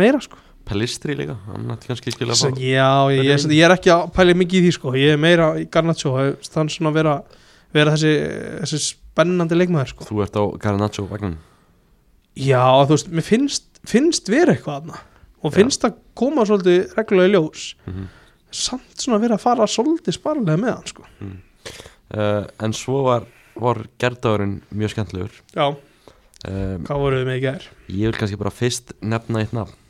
B: meira sko
A: Pellistri líka Hann ætti kannski skilja
B: Svo,
A: bara
B: já, ég, ég, ég er ekki að pæla mikið í því sko ég er meira í Garnaccio þannig svona að vera, vera þessi, þessi spennandi leikmaður sko
A: Þú ert á Garnaccio vagnin
B: já, þú veist, mér finnst, finnst vera eitthvað aðna og
A: Já.
B: finnst að koma svolítið reglulega í ljós
A: Mhm.
B: samt svona vera að fara svolítið sparlega með hann sko
A: uh, En svo var, var gerðdagurinn mjög skemmtilegur
B: já,
A: um,
B: hvað voruð við með í gær?
A: Ég vil kannski bara fyrst nefna eitt nafn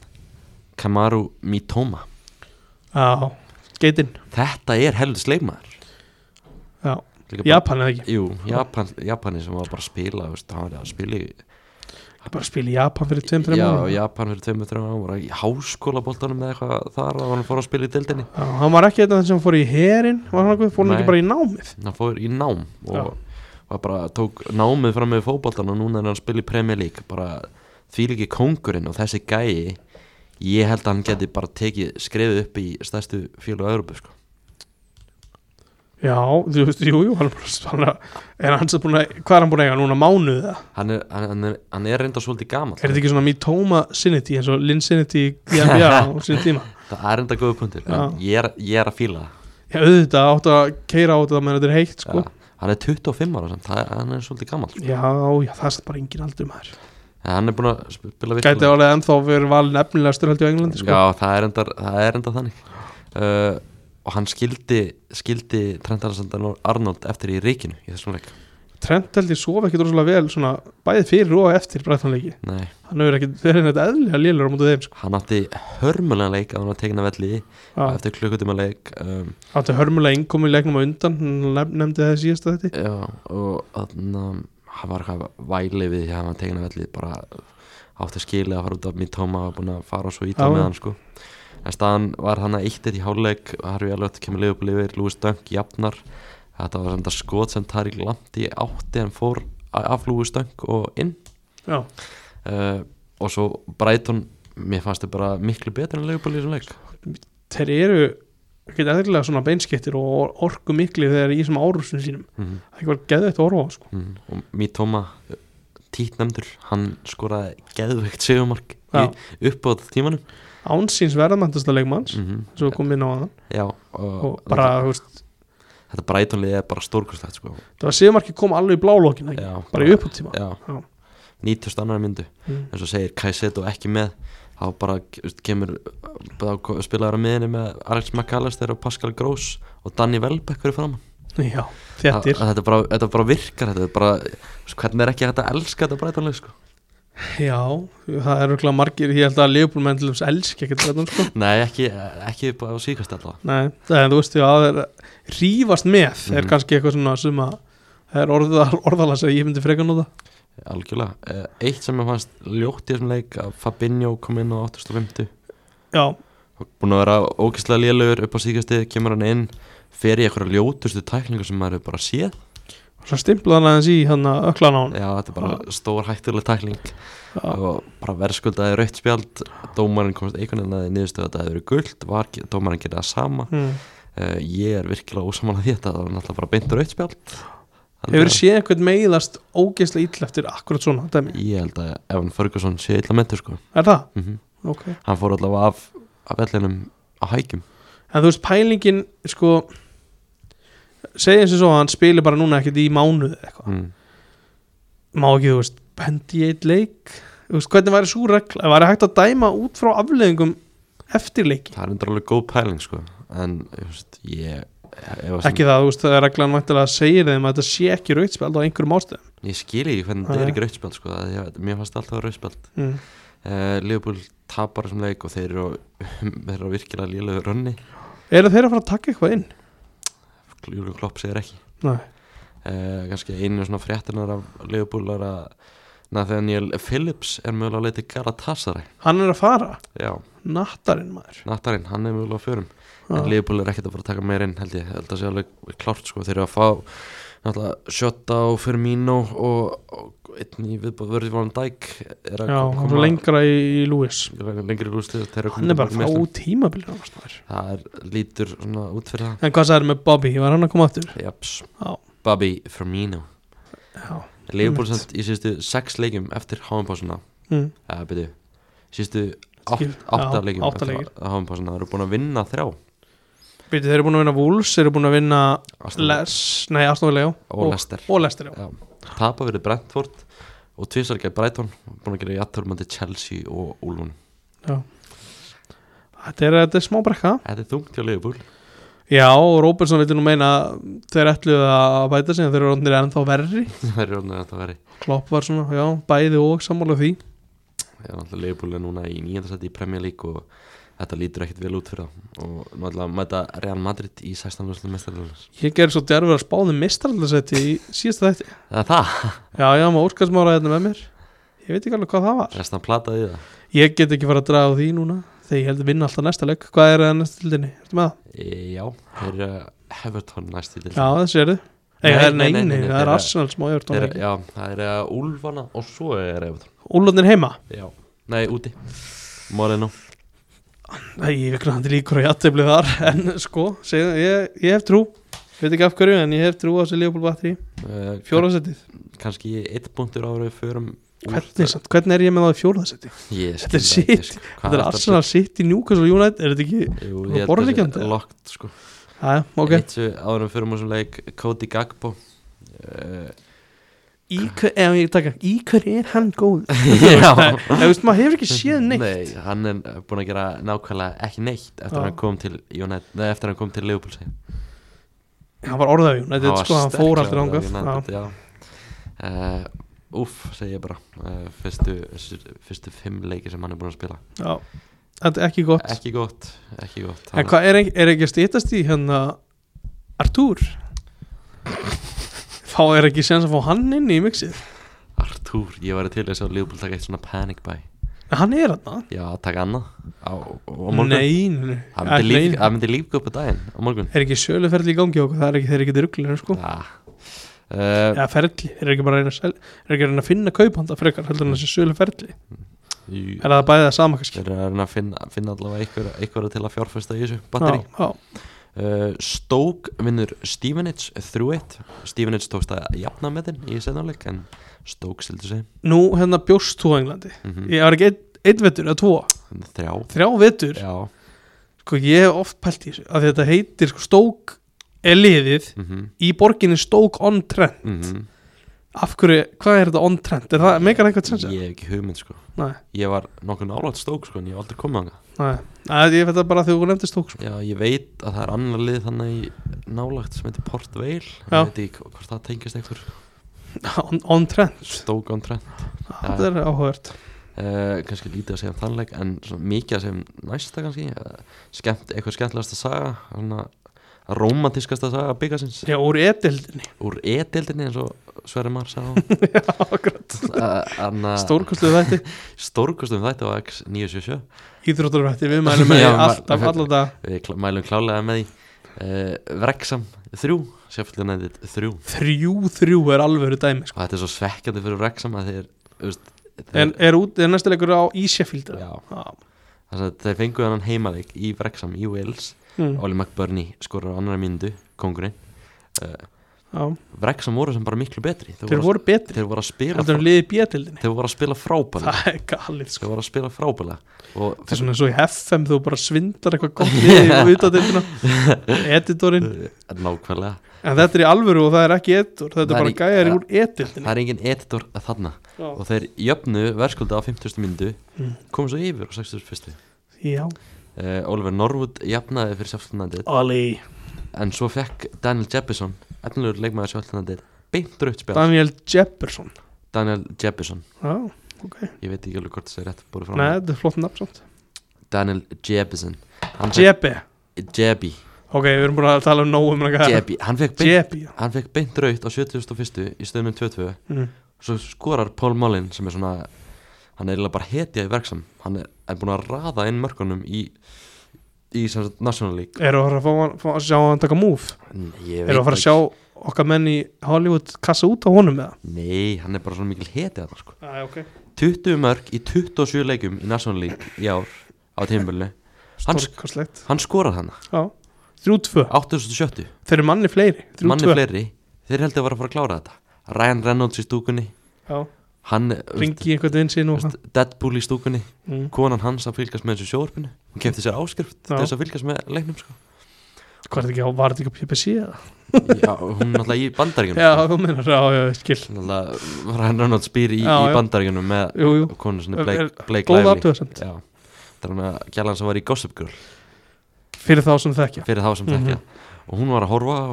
A: Kamaru Mitoma
B: Já, geitinn
A: Þetta er helvið sleikmaður
B: Já,
A: Líka bara-
B: Japan eða ekki,
A: Jú, Japan, Japani sem var bara að spila þú veist, hann var að spila í
B: ég bara spila í Japan fyrir 2-3
A: Já,
B: mánuðum.
A: Japan fyrir tveimur, þreimur ára var í háskóla boltanum eða eitthvað þar að hann fór að spila í deildinni
B: Já, hann var ekki þetta sem fór í herin var hann eitthvað, fór hann
A: Nei.
B: ekki bara í námið
A: hann fór í nám og
B: Já.
A: var bara, tók námið fram með fótboltan og núna er hann að spila í Premier League bara því líki kóngurinn og þessi gæi ég held að hann geti bara tekið skrefið upp í stærstu fjölu á Európu sko.
B: Já, þú veist, jú, jú, hann er bara hann er, er hans að búin að, hvað er hann búin að eiga núna mánuð það?
A: hann, er, hann, hann, er, hann er reynda svolítið gaman
B: Er þetta ekki svona Mitoma Sinity eins og Lin Sinity í NBA á sinni tíma?
A: það er reynda góða punktur en ég er, ég er að fíla það
B: Já, auðvitað áttu að keira á þetta meðan þetta er heitt, sko
A: ja. hann er 25 ára samt, það er- hann er svolítið gaman sko.
B: Já, já, það er samt bara engin aldur maður
A: En hann er búin að spila virkilega-
B: Gæti álega ennþá verið valin efnilegastur held ég á Englandi, sko
A: Já, það er endar, það er endar þannig uh, Og hann skildi, skildi Trent Alexander Arnold eftir í ríkinu í þessum leik
B: Trent held ég sofa ekkit rosalega vel, svona, bæði fyrir og eftir breytanleiki
A: Nei,
B: Hann hefur ekkit verið neitt eðlilega lélur á mútu þeim, sko
A: hann átti hörmulega leik að hann var tekin af velli
B: Já,
A: eftir klukkutíma leik um,
B: Áttu hörmulega innkomi í leiknum á undan, hann nef- nefndi það í síðasta þetta
A: Já, og þannig um, hann var eitthvað væli við því að hann var tekin af velli bara átti skilið að fara út af Mitoma og búin að fara svo ítla
B: Já,
A: með
B: já.
A: hann sko En staðan var hann að eitt eitt í hálfleik og Harfi Alvöld kemur liðu upp liður, Lúis Döng jafnar Þetta var samt að skot sem Tarik Lanti átti en fór af Lúis Döng og inn
B: Já,
A: uh, og svo Brighton mér fannst þau bara miklu betur en Leopold í þessum leik
B: þeir eru ekkit eðlilega svona beinskettir og orku mikli þegar í þessum árusum sínum
A: mm
B: Það er ekki verið geðveitt að orfa á, sko
A: -hmm. og Mítoma títnæmdur, hann skoraði geðveikt segumark
B: Já.
A: upp á tímanum
B: Ánsins verðmæntasta leikmanns,
A: mm -hmm.
B: Mhm. svo kom inn á hann
A: Já, og,
B: og bara,
A: þetta,
B: þú veist,
A: þetta Brighton liðið er bara stórkustlegt sko.
B: það var síðumarki kom alveg í blálókin ekki?
A: Já.
B: bara í uppúttíma
A: Já,
B: Já.
A: 90 annar myndu
B: Mm.
A: eins og segir Kaiseto ekki með þá bara veist, kemur bara spilaður á miðinni með Alex McAllister og Pascal Gross og Danny Welbeck fyrir framann
B: Já, þettir
A: Að- að þetta, bara, þetta bara virkar þetta er bara, þú veist, hvernig er ekki hægt að elska þetta breytanlega sko?
B: Já, það eru örugglega margir ég held að liðbúlmenn til þess elski ekkert þetta sko
A: nei, ekki, ekki upp á síkast alltaf
B: Nei, en þú veist því að það er rífast með er
A: Mhm.
B: kannski eitthvað svona sem að það er orðal, orðalega sem ég myndi frekar nota
A: algjörlega, Eh, eitt sem ég fannst ljótt í þessum leik að Fabinho kom inn á 850
B: Já,
A: og búin að vera ógeðslega lélugur upp á síkasti kemur hann inn, fer í eitthvað ljótustu tæklingar sem maður hefur bara séð
B: svo stimplað hann aðeins í hann að öklan á hann
A: já, þetta er bara stór hættuleg tækling
B: Já,
A: og bara verðskuldaði rautt spjald dómarinn komst einhvern veginn að niðurstu að þetta hefur verið guld, var dómarinn gerði það sama
B: Mm.
A: uh, ég er virkilega ósamála því að þetta var náttúrulega bara beint rautt spjald Þannig
B: Hefur
A: að-
B: séð einhvern meiðast ógeðslega illa eftir akkurat svona dæmi?
A: ég held að Evan Ferguson sé illa mentur sko
B: Er það?
A: mm
B: Ok
A: hann fór allavega af, af vellinum á hækjum
B: En þú veist, pælingin, sko segjum sem svo að hann spili bara núna ekkert í mánuð eða eitthvað
A: mm.
B: má ekki, þú veist, pendi í eitt leik þú veist, hvernig væri svo regla væri hægt að dæma út frá afleðingum eftir leiki,
A: það er endur alveg góð pæling sko en þú veist, ég ef, sem,
B: ekki það, þú veist, það er reglan vantilega að segja þeim að þetta sé ekki rautspjald á einhverjum ástöðum
A: ég skil ekki hvernig þetta er
B: Nei.
A: ekki rautt spjald sko að ég, mér fannst alltaf rautt spjald
B: mm.
A: uh, Leopold tapar þessum leik og þeir eru, á- þeir eru á virkilega lélegu rönni
B: eru þeir að fara að taka eitthvað inn?
A: Júlíu Klopp segir ekki
B: Nei,
A: uh, kannski einu svona fréttinar af Leopold er að Nathaniel Phillips er mögulega að leita í Galatasaray
B: hann er að fara
A: já,
B: nattarinn maður
A: Nattarinn, hann er mögulega á förum En
B: Já.
A: Leopold er ekkert að fara að taka meir inn held ég, held að sé alveg klárt sko þeir eru að fá náttúrulega Shota og Firmino og, og einn í viðbóð vörði von Dijk er að
B: Já, hann er lengra í, í Lewis
A: lengri rústið þeir eru að
B: hann er bara
A: til
B: að fá
A: meiðslum.
B: út tímabilið nánast, maður.
A: það er lítur svona út fyrir
B: en hvað sagði með Bobby, var hann að koma aftur?
A: það Japs,
B: Já,
A: Bobby Firmino
B: já
A: Leopold
B: Einmitt.
A: samt í síðustu sex leikjum eftir háumpásuna
B: mm.
A: eða byrju, síðustu
B: Skil-
A: átt- átta
B: já,
A: leikjum
B: átta
A: eftir
B: leikir.
A: háumpásuna þeir eru búin að vinna þrjá
B: Býtu, þeir eru búin að vinna Wolves, þeir eru búin að vinna
A: Arsenal
B: Les, nei, Aston Villa, já
A: og Lester
B: og Lester, já
A: Já, tapa verið Brentford og tvisar gegn Brighton búin að gera jætturmandi Chelsea og Úlfun
B: Þetta er, þetta er smá brekka
A: Þetta er þungt hjá Leifbúl
B: Já, og Róbertson vildi nú meina að þeir ætluðu að bæta sig en þeir eru orðnir ennþá verri
A: það er ráðnað að þetta veri
B: Klopp var svona, já, bæði og sammála því
A: Leifbúl er náttúrulega Liverpool er núna í nýjöndarsætti í Premier League og þetta lítur ekkit vel út fyrir þá og náttúrulega mæta Real Madrid í 16. úrslitum meistaraliðarins.
B: Ég gerði svo djarfur að spáði mistralarsæti í síðasta þætti
A: Það er það,
B: Já, já, maður úrkarsmára þetta hérna með mér Ég veit ekki alveg hvað það var
A: restan plataði í það
B: Ég get ekki fara að draga á því núna Þegar ég held að vinna alltaf næsta leik Hvað er það næsta tildinni? Ertu með það?
A: e, Já, þeir eru að Everton næst í til
B: Já, það sér þið Nei,
A: Nei,
B: það er
A: nei, nei,
B: neini,
A: nei, nei,
B: það er
A: þeirra-
B: Arsenal smá
A: þeir,
B: Evertón
A: eru- Já, það eru að Úlfana og svo er Everton
B: Úlfarnir heima
A: Já, nei, úti Moreno
B: Æ, ég veit hvernig hann líkur að játefli þar En sko, seg, ég, ég hef trú Veit ekki af hverju, en ég hef trú á þessi Leopold Batteri
A: uh,
B: Fjóraðsettið
A: Kanski eitt punktur ára við förum úr
B: hvernig, samt, hvernig er ég með það í fjóraðsettið?
A: Ég
B: Þetta er
A: skil það ekki,
B: sitt.
A: sko. Hvað
B: Þetta er
A: ertu að
B: Arsenal City, Newcastle United Er þetta ekki?
A: Jú, ég
B: Það
A: held
B: borðar
A: að
B: ekki
A: sé
B: hann þetta?
A: Locked sko
B: Æ, ok
A: Eitt svo áður en fyrir mjög sem leik Cody Gagbo uh,
B: Í hver, ef ég taka, í hver er hann góð?
A: Já.
B: Nei, þú veist, maður hefur ekki séð neitt
A: Nei, hann er búin að gera nákvæmlega ekki neitt Eftir
B: Já.
A: að hann kom til United Nei, eftir að hann kom til Liverpool segi ég.
B: Hann var orðað við, þetta
A: var
B: sko, hann fór aftur
A: sterklega
B: ángað
A: United, Já uh, Úff, segi ég bara uh, fyrstu, fyrstu fimm leiki sem hann er búin að spila
B: Þetta er ekki gott
A: Ekki gott, ekki gott
B: En hvað er, er ekki að stýtast í hérna Artúr? Þá er ekki séns að fá hann inn í mixið
A: Artúr, ég væri til þess að Liverpool taka eitt svona panic buy
B: En hann er hann
A: Já, taka annað á, á morgun
B: Nei, nei,
A: Það
B: nei.
A: myndi líf-
B: Nei,
A: það myndi lífga upp á daginn á morgun
B: Er ekki söluferli í gangi okkur, það er ekki, þeir eru ekki rugglir sko.
A: Já uh,
B: Já, ferli, er ekki bara að reyna að, sel, er ekki að, reyna að finna kaupanda frekar heldur en þessi söluferli
A: jú,
B: Er það bæðið að sama kannski?
A: Þeir eru að reyna að finna, finna allavega einhverja einhver til að fjárfesta í þessu batteri
B: Já, já.
A: uh, Stoke vinnur Stevenage 3-1 Stevenage tókst að jafna með þinn í setnáleik en Stoke sildi sig
B: Nú hérna bjóst þú á Englandi
A: mm
B: Ég var ekki einn ein vetur eða tvo
A: Þrjá
B: Þrjá vetur
A: Já
B: Sko ég hef oft pælt í þessu að þetta heitir sko stók er liðið
A: mm -hmm.
B: í borginni stók on trend
A: Mhm.
B: Af hverju, hvað er þetta on trend? Er það meikar eitthvað trend?
A: Ég hef ekki hugmynd sko
B: Nei,
A: Ég var nokkuð nálægt Stoke sko en ég hef aldrei komið þangað
B: nei Æ, Ég veit það bara þegar þú nefndir stók sko.
A: Já, ég veit að það er annar lið þannig í nálægt sem heitir Port Vale
B: Já.
A: Ég veit ekki hvort það tengist einhver
B: on, on trend
A: Stoke on Trent
B: Þetta er áhugavert
A: uh, kannski lítið að segja um þannleik en svona mikið að segja um næsta kannski uh, skemmt, eitthvað skemmtilegasta saga svona romantískasta saga byggasins
B: Já, úr edeldinni
A: úr e-deildinni eins og Sverri Mar sá uh, anna,
B: Stórkostuð þætti
A: stórkostum þætti á X977
B: Íþróttarvætti, við mælum með
A: Já,
B: því
A: ma-
B: alltaf, alltaf dag
A: við klá, mælum klálega með því uh, Vrexam 3 Sjöfaldunæðið 3 og
B: Þrjú, þrjú er alvöru dæmi sko.
A: þetta er svo svekkjandi fyrir Vrexam að þeir, þú veist, þeir
B: En er, út, er næsta leikur á Ísjafíld
A: já,
B: Já.
A: þess að þeir fengu hann heimaleik í Vrexam í Wales
B: Mm.
A: Oli McBurney skorur á annara myndu kongurinn
B: Já.
A: Wrexham voru sem bara miklu betri þeir,
B: Þeir voru betri
A: þeir voru að spila
B: heldur en liðið í B-tildinni
A: þeir voru að spila frábælega
B: það er galið sko
A: þeir voru að spila frábælega og
B: það er svona eins og í FM þú bara svindlar eitthvað gott liðið í utadildina editorinn
A: Eh, nákvæmlega
B: en þetta er í alvöru og það er ekki editor þetta
A: Það
B: er
A: er
B: bara
A: í-
B: gæjar
A: ja.
B: úr edildinni
A: það er engin editor að þarna
B: Já.
A: og þeir jöfnu verðskulda á 50. myndu
B: Mm.
A: komu svo yfir á 61.
B: já
A: Uh, Oliver Norwood jafnaði fyrir sjálfstæðanandið
B: Oli
A: en svo fekk Daniel Jeppison efnilegur leikmaður sjálfstæðanandið beint rauðspjál Dan
B: Daniel Jepperson
A: Daniel Jeppison
B: já ok
A: ég veit ekki alveg hvort það er rétt búið frá
B: nei þetta er flott nafn samt
A: Daniel Jeppison Hann fékk-
B: Jeppe
A: Jebby
B: ok við erum búin að tala um nógu um eitthvað
A: Jebby hann fekk beint
B: Jeppe já.
A: hann fekk beint raut á 71. í stöðum 22
B: Mm.
A: svo skorar Paul Mullin sem er svona hann er eiginlega bara hetja í verksam hann er, er búin að raða inn mörkunum í í sem sagt National League
B: eru að fara að fá hann- fá að sjá hann taka move
A: En ég
B: eru að fara að
A: það
B: sjá okkar menn í Hollywood kassa út á honum með
A: ekki. nei, hann er bara svona mikil hetja þarna, sko.
B: það ok
A: 20 mörk í 27 leikum í National League í ár á tímabölinu Hann-
B: stórkostlegt
A: hann skorað hann
B: já þrjú tvö
A: 870
B: Þeir eru manni fleiri þrjú
A: manni
B: tvö.
A: fleiri þeir heldur að vera að fara að klára þetta Ryan Reynolds í stúkunni
B: Já,
A: hann
B: Ringi í einhvern vinn sín og
A: veist, Deadpool í stúkunni
B: mm.
A: konan hans að fylgast með þessu sjóðarpinu hún kefti sér áskrift til
B: Já.
A: þess að fylgast með leiknum sko.
B: Hvað er þetta ekki á, var þetta ekki á PPC eða?
A: já, hún er náttúrulega í bandaríkjunum sko.
B: Já, þú meinar, já, já, skil
A: náttúrulega Ryan Reynolds býr í,
B: Já, já.
A: í bandaríkjunum með
B: Jú, jú,
A: konu sinni
B: Er-
A: Blake, Blake
B: góð
A: Lively
B: aftöðasamt
A: Já. þetta er hann að gælan sem var í Gossip Girl
B: Fyrir þá sem þekkja
A: fyrir þá sem
B: Mhm.
A: þekkja og hún var að horfa á,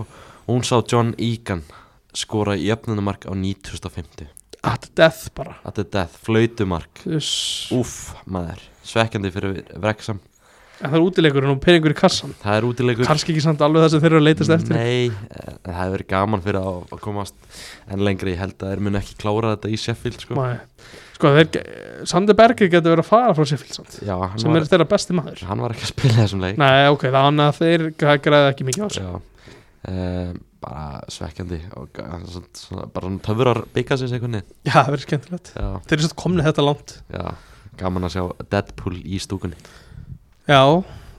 A: og hún sá John Egan skora í öfnunumark á 9050
B: At death bara
A: að þetta er death, flautumark
B: Uss.
A: úff maður, svekkjandi fyrir Wrexham
B: en það er útileikurinn og peningur í kassan
A: það er útilegur
B: kannski ekki samt alveg það sem þeir eru að leitast eftir
A: Nei, eh, það hefur verið gaman fyrir að að komast en lengri, ég held að þeir mun ekki klára þetta í Sheffield sko.
B: Nei. sko þeir, Sander Berger getur verið að fara frá Sheffield samt,
A: Já, hann
B: sem
A: var,
B: er þeirra besti maður
A: hann var ekki að spila í þessum leik
B: Nei, ok, það annað að þeir græði ekki mikið á sig
A: Já, eh, bara svekkjandi og ga- svona, svona, bara svona töfrar byggasins einhvern veginn
B: Já, það verður skemmtilegt
A: Já,
B: Þeir eru svo komnið þetta langt
A: já, gaman að sjá Deadpool í stúkunni
B: Já,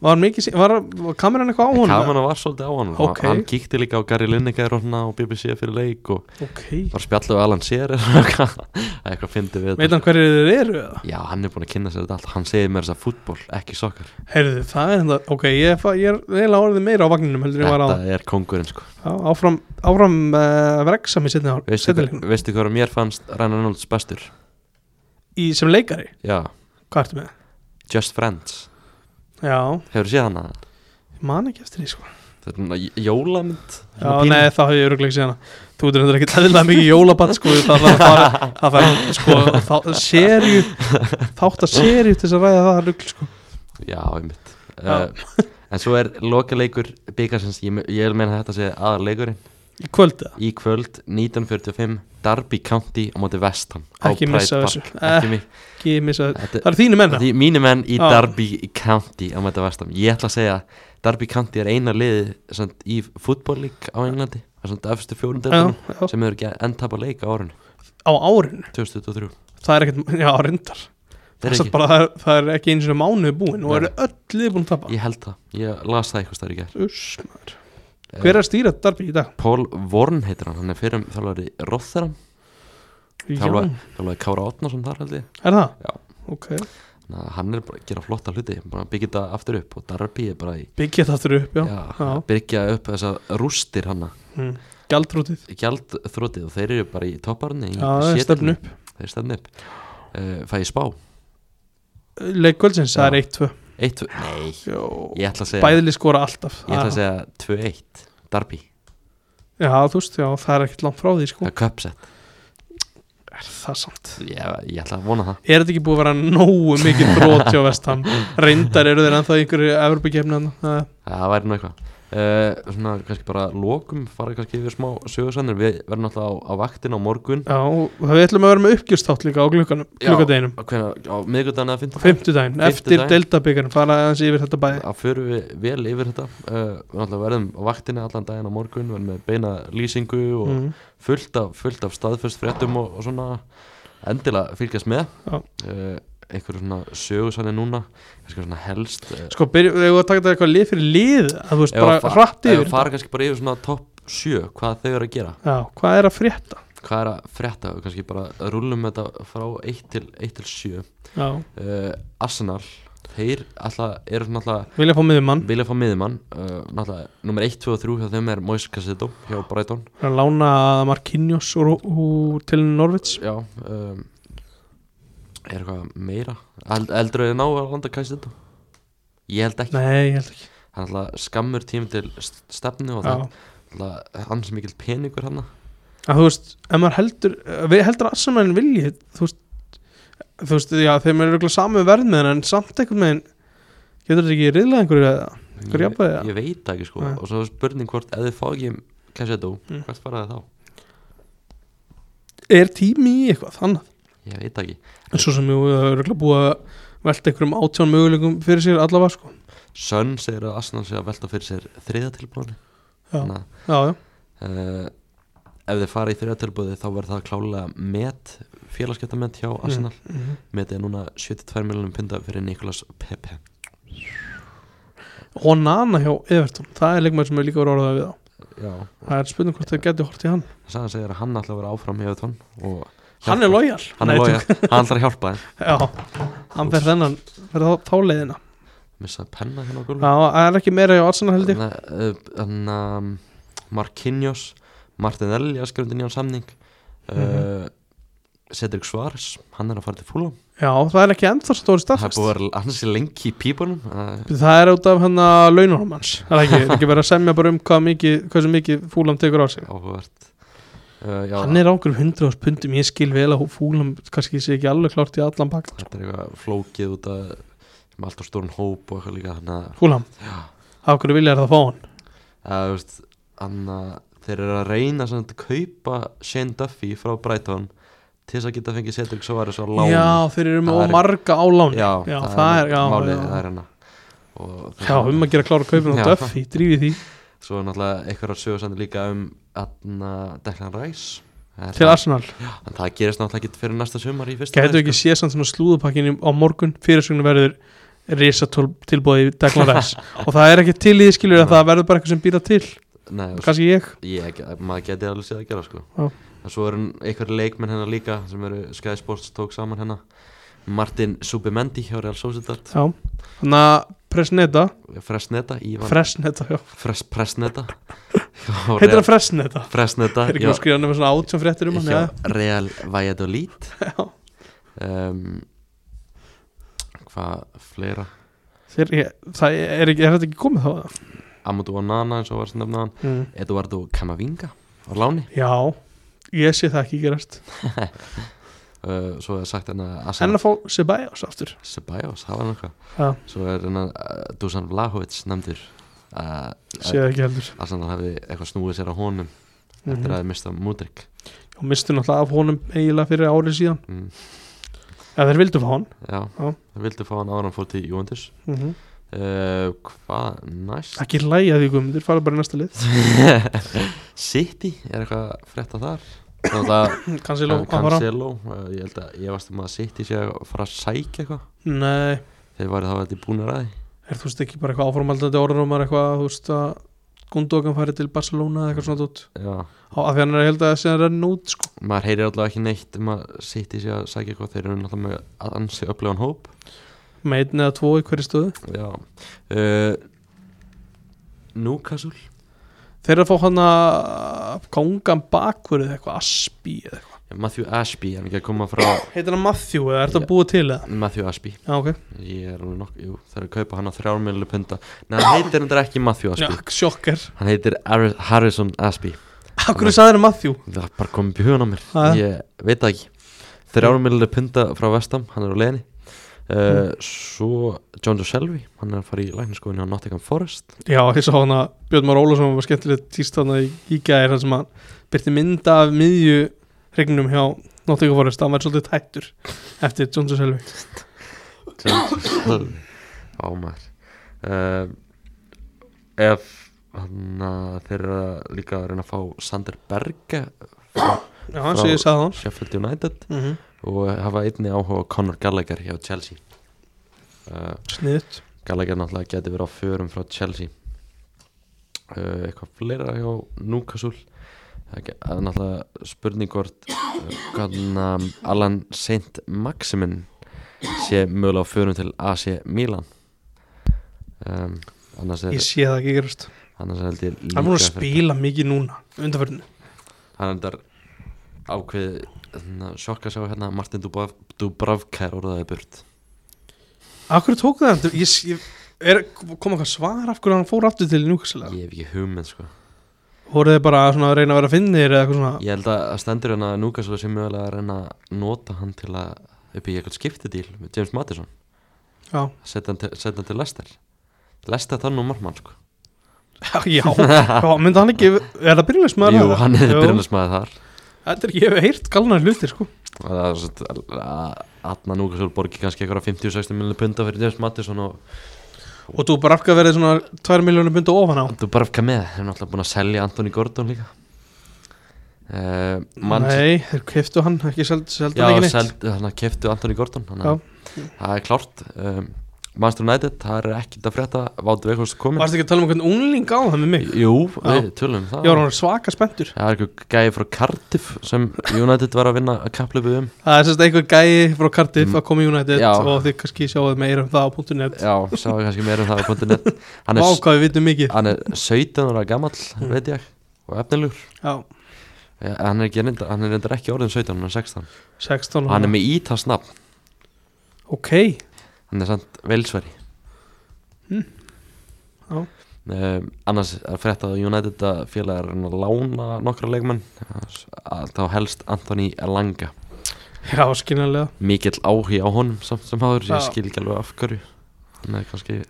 B: var, mikið, sí- var, var kameran eitthvað á honum?
A: Kamana var svolítið á hann
B: Ok.
A: Hann kíkti líka á Gary Lineker og, svona á BBC fyrir leik og
B: Ok,
A: var spjallið við Alan Shearer og eitthvað eitthvað fyndi við
B: veit
A: þetta.
B: hann hverju þeir eru eða?
A: Já, hann er búin að kynna sér þetta allt Hann segir mér þess að fútból, ekki sokkar
B: Heyrðu, það er þetta, ok, ég, er fa- ég er eiginlega orðið meira á vagninum heldur en ég var á
A: Þetta er kongurinn sko
B: Já, áfram, áfram uh, vreksa mér setni á
A: Veistu,
B: setni
A: hver- veistu hvað mér fannst Ryan Reynolds bestur?
B: í sem leikari,
A: Já,
B: hvað ertu með?
A: Just Friends
B: Já,
A: Hefur séð hann að
B: ég man ekki eftir því sko
A: Þetta er svona j- jólamynd
B: Já, nei, það hafði ég öruglega síðan Þú ert reyndar ekki tæðilega mikið jólabatt sko Það þarf að fara, það þarf sko þá, Serju, þátt að serju til þess að ræða það rugl sko
A: Já, einmitt uh, En svo er lokaleikur byggasins Ég, me- ég vil meina að þetta sé aðarleikurinn
B: Í kvölda,
A: Í kvöld 1945 Derby County á móti vestan
B: Ekki missa þessu.
A: Ekki mig
B: ekki missa
A: Þetta
B: Það eru þínu menna
A: Því mínu menn í
B: Já.
A: Derby County á mæta vestam Ég ætla að segja Derby County er eina liði samt, í fútbollík á Englandi það er samt efstu fjórum deltunum
B: já, já,
A: sem hefur ekki endtapa leik á árun
B: Á árinu,
A: 2023
B: það er ekkert, já, reyndar
A: Það er
B: Samt
A: ekki,
B: bara, það, er, það er ekki eins og mánuði búin
A: Nei.
B: og eru öll liði búin að tapa
A: ég held það Ég las það eitthvað stær í gær Eh,
B: Uss, maður Hver er að stýra darbi í dag?
A: Paul Vorn heitir hann, hann er fyrir þjálfari Rotheram,
B: Já,
A: Þjálfa- þjálfari Kára Otnason þar held ég
B: er það?
A: Já.
B: Ok,
A: Þannig að hann er bara að gera flotta hluti bara að byggja þetta aftur upp og Darby er bara í
B: byggja það þurru upp, já,
A: já,
B: já.
A: að byggja upp þessa rústir hann
B: Mm. Gjaldrútið,
A: gjaldþrótið og þeir eru bara í topparni
B: já, það er stefnu upp
A: þeir stefnu upp uh, fæ ég spá
B: Leikvöldsins, það
A: Já.
B: er 1-2
A: Eitt, tvö- nei,
B: Jó,
A: ég ætla að segja
B: Bæðli skora alltaf
A: ég ætla að segja 2-1 Darby,
B: Já, þú veist, já, það er ekkert langt frá því sko.
A: það er köpsett
B: Er það samt?
A: ég, ég ætla að vona það
B: Er þetta ekki búið að vera nógu mikið brot hjá Vestham? Reyndar eru þeir ennþá í einhverju Evropakefni hann
A: það væri nú eitthvað uh, svona kannski bara lokum fara kannski yfir smá sögursannir við verðum alltaf á, á vaktin á morgun
B: Já, og við ætlum að vera með uppgjörstátt líka á glukkanum,
A: Já.
B: glukkadeginum
A: á, hvenær- á miðgudaginn eða fimmtudaginn
B: Fymtudaginn, eftir
A: Fimmtudaginn.
B: deltabyggjarn fara aðeins yfir þetta bæði
A: að förum við vel yfir þetta uh, við náttúrulega verðum á vaktinni allan daginn á morgun verðum með beina lýsingu og
B: mm.
A: fullt, af, fullt af staðfest fréttum og, og svona endilega fylgjast með
B: Já.
A: uh, einhverju svona sögusanni núna eitthvað svona helst uh,
B: Sko, byrju, eigum við að taka þetta eitthvað lið fyrir lið að þú veist, bara hratt
A: ef
B: yfir
A: við fara kannski bara yfir svona topp 7 hvað þau eru að gera,
B: Já, hvað er að frétta?
A: hvað er að frétta við kannski bara rúlum þetta frá 1 til, 1 til 7 uh,
B: Já,
A: Arsenal, þeir alltaf, eru svona alltaf
B: vilja fá miður mann
A: vilja fá miðjumann uh, náttúrulega, nummer 1, 2 og 3 hjá þeim er Moise Cassetto hjá Brighton
B: að lána Marquinhos og, og til Norvits
A: já um, er eitthvað meira Eld, eldur er ná að landa Cassetto ég held ekki,
B: Nei, ég held ekki
A: hann alltaf skammur tím til st- stefnu og
B: Já.
A: það alltaf hans mikil peningur hann
B: að þú veist, ef maður heldur ef við heldur að Assenmænin vilji þú veist, þú veist, já, þeim eru örugglega saman verð með henn, en samt einhvern veginn getur þetta ekki riðlega einhverju eða Hver
A: ég,
B: jafnaði það?
A: ég veit það ekki sko
B: Nei.
A: og svo er spurning hvort ef þið fá ekki Cassetto,
B: Mm.
A: hvert fara þið þá?
B: er tími í eitthvað annað
A: ég veit það ekki,
B: en svo sem jú, það er örugglega búið að velta einhverjum átján möguleikum fyrir sér allavega sko
A: Sönn segir að Arsenal sé að velta fyrir sér þriðatilbúðan
B: já, já, já,
A: uh, ef þið fara í þriðatilbúði þá verður það klálega met félagskeptament hjá Arsenal
B: mhm.
A: metið er núna 72 miljonum pinda fyrir Nikolas Pepe
B: og Nana hjá Everton það er leikmæður sem er líka voru orðað við á
A: já
B: það er spurning hvort það getur hort í hann
A: Sæðan segir að hann ætla að vera áfram hjá Evertón og
B: hann er lojal,
A: hann er lojal, hann ætlar að hjálpa þeim
B: já, hann fer þennan fer þá, þá leiðina
A: missa penna hérna á
B: já,
A: gulv
B: það er ekki meira hjá Arsenal held ég
A: Þannig að Marquinhos Martinelli að skrifa undir nýjan samning mm
B: Mhm.
A: Cedric Suárez hann er að fara til Fulham
B: já, það er ekki ennþá
A: það
B: stóri
A: er
B: staðfest
A: búið að vera hansi lengi í pípunum uh,
B: Það er út af hann að laununum hans Það er ekki, það er ekki verið að semja bara um hvað mikið hversu mikið fúlam tekur á sig
A: áhugavert uh, já,
B: Hann er ákveður hundra ás pundum Ég skil vel að fúlam kannski sé ekki alveg klárt í allan bakt
A: þetta er eitthvað flókið út að með alltaf stórn hóp og eitthvað líka þannig að
B: Húlam,
A: já,
B: af hverju vilja er það að fá hann?
A: að, þú veist, anna, þeir eru að reyna sem að kaupa Shane Duffy frá Brighton til þess að geta fengið Cedric Soares á lán
B: Já, þeir eru
A: Það
B: með
A: er-
B: marga á láni
A: já,
B: já það er, já,
A: málið,
B: já.
A: það er hennar og
B: Já, um að gera klára kaupin á
A: Já.
B: Duffy, drífið því
A: svo er náttúrulega einhverjar sögursandi líka um aðna Declan Rice Það er
B: til
A: það-
B: Arsenal
A: en það gerist náttúrulega ekki fyrir næsta sumar í fyrsta
B: Gætu
A: lagi,
B: ekki
A: sko.
B: séð samt svona slúðupakkinu á morgun fyrirsögnu verður risa tilbúið í Declan Rice og það er ekki til í því skilur að
A: Nei.
B: það verður bara eitthvað sem býra til
A: sko. Nei, þú veist,
B: kannski ég
A: ég, maður geti alveg séð að gera sko.
B: Já.
A: en svo eru einhverju leikmenn hennar líka sem eru Sky Sports tók saman hennar Martin Subimendi hjá Real Sociedad
B: Já, þannig að Presneta
A: Fresneta, Ívan
B: Fresneta, já
A: Fres, Presneta
B: Heitir það Fresneta?
A: Fresneta
B: Er ekki að skrifa nefnir svona átjón fréttir um hann
A: hjá
B: eða?
A: Real Valladolid
B: Já.
A: um, hvað fleira
B: Þeir, ég, það er, ekki, er þetta ekki komið þá eða?
A: Amadou Onana eins og var sem nefnaðan
B: Mm.
A: Eduardo Camavinga á láni
B: Já, ég sé það ekki gerast
A: uh, svo er sagt hennar
B: En
A: Asan
B: að fá Sebajos aftur
A: Sebajos, það var náttúrulega
B: Já,
A: svo er hennar uh, Dusan Vlahovic nefndur uh,
B: sé það ekki heldur
A: Asan hafi eitthvað snúið sér á honum
B: mm
A: eftir að þið mista Mudrik
B: Og mistu náttúrulega af honum eiginlega fyrir árið síðan
A: mm,
B: Já, þeir vildu fá hann
A: já,
B: Já.
A: það vildu fá hann ára hann fór til Juventus
B: mm -hmm.
A: uh, hvað næst
B: Ekki lægja því guðmundur, fara bara í næsta lið
A: City, er eitthvað frétta þar Náttúrulega
B: Cancelo, hann var á
A: Cancelo, eh, ég held að ég varst um að City sé að fara að sækja eitthvað
B: Nei,
A: þeir væri þá eitthvað búin að ræði
B: er þú veist ekki bara eitthvað áformaldandi orðrumar eitthvað, þú veist að Gundogan færi til Barcelona eða eitthvað svona tótt
A: Já,
B: Af því hann er að held að þessi renn út sko
A: maður heyrir alltaf ekki neitt um að City sé að sækja eitthvað þeir eru náttúrulega með að ansi upplifan hóp
B: með einn eða tvo í hverju stöðu
A: Já uh, Newcastle
B: þeir eru að fá hann að kongan bakverð eða eitthvað Aspi eða eitthvað
A: Matthew Ashby, hann er ekki að koma frá
B: heitir hann Matthew eða er þetta
A: Já.
B: yeah. búið til eða
A: Matthew Ashby,
B: já ok
A: ég er alveg nokk jú, það er að kaupa hann á þrjármjölu punta Nei, hann heitir hendur ekki Matthew
B: já,
A: Ashby
B: sjokker
A: Hann heitir Ari- Harrison Ashby
B: akkur er sagðið Matthew
A: Það er bara komið upp í hugan á mér
B: Ha?
A: Ég veit það ekki Þrjára millir punta frá Vestam, hann er á leiðinni uh,
B: Mm.
A: Svo John Joe Shelby Hann er að fara í lækniskoðinu á Nottingham Forest
B: já ég sá hann að Björn Már Ólafsson var skemmtilegt týst hann í, í gæðir hann sem hann byrti mynda af miðju hregnum hjá Nottingham Forest hann var svolítið tættur eftir John Joe Selvi
A: John Joe Shelby Ámar uh, Ef hann að þeir eru að líka að reyna að fá Sander Berge
B: já hann
A: Frá-
B: sé ég sagði hann
A: Sheffield United
B: mm -hmm.
A: og hafa einni áhuga á Conor Gallagher hjá Chelsea uh,
B: sniðt
A: Gallagher náttúrulega geti verið á förum frá Chelsea uh, eitthvað fleira hjá Newcastle það er ekki- það er náttúrulega spurning hvort uh, hvaðna Alan Saint Maximin sé mögulega á förum til AC Milan um, annars er
B: ég sé það ekki gerast
A: annars er held ég líka
B: hann er búin að
A: fyrir-
B: spila mikið núna undanferðinu
A: hann er endar ákveð sjokk að sjá hérna að Martin Dubav, Dubravka er orðaði burt
B: akkur tók það hann ég, ég, er, kom eitthvað svar af hverju hann fór aftur til Newcastle eða?
A: ég hef ekki hugmynd sko
B: voruð þið bara svona að reyna að vera finnir eða eitthvað svona
A: Ég held að að stendur hann að Newcastle sem mögulega að reyna að nota hann til að upp í eitthvað skiptidíl með James Madison
B: já,
A: setja hann til, setja hann til Lester Lester þann og margmann sko
B: já, já myndi hann ekki er það byrjulegsmaður
A: Jú, hann er byrjunarsmaður þar
B: þetta er ekki, ég hef heyrt galnar hlutir sko
A: Það er svo að- að Adna Newcastle borgi kannski eitthvað 50-60 miljonir punta fyrir James Madison og
B: og þú bara afkað verið svona 2 miljónum bundu ofan á
A: þú bara fka með þeir eru náttúrulega búin að selja Anthony Gordon líka uh,
B: nei, þeir keftu hann ekki seld, seld
A: Já,
B: hann ekki neitt
A: seld, þannig að keftu Anthony Gordon þannig
B: Já.
A: að það er klárt um, Manchester United, það er ekkert að frétta Váttu veikast komin
B: varstu ekki að tala um einhvern ungling á það með mig
A: Jú,
B: Já.
A: við tölum um það
B: ég var hann svaka spenntur
A: Það er eitthvað gæði frá Cardiff sem United var að vinna að kapplöfu um
B: það er sérst einhver gæi frá Cardiff
A: Mm.
B: að koma í United
A: Já.
B: og þið kannski sjáuð meira um það á .net
A: Já, sá ég kannski meira um það á .net hann,
B: Vá
A: er-
B: hvað við vitum mikið
A: hann er 17 ára gamall, veit ég og efnilegur
B: Já,
A: Eh, Hann er, ekki, reyndar- hann er reyndar ekki orðin 17, hann er 16
B: 16
A: Hann er með ítalsnafn,
B: Ok,
A: hann er samt velsveri
B: Mm. Já.
A: Um, annars er frétt að United að félagar er að lána nokkra leikmenn að þá helst Anthony Elanga
B: já, skynarlega
A: mikill áhugi á honum samt sem haður,
B: Já.
A: ég skil ekki alveg af hverju Nei, kannski,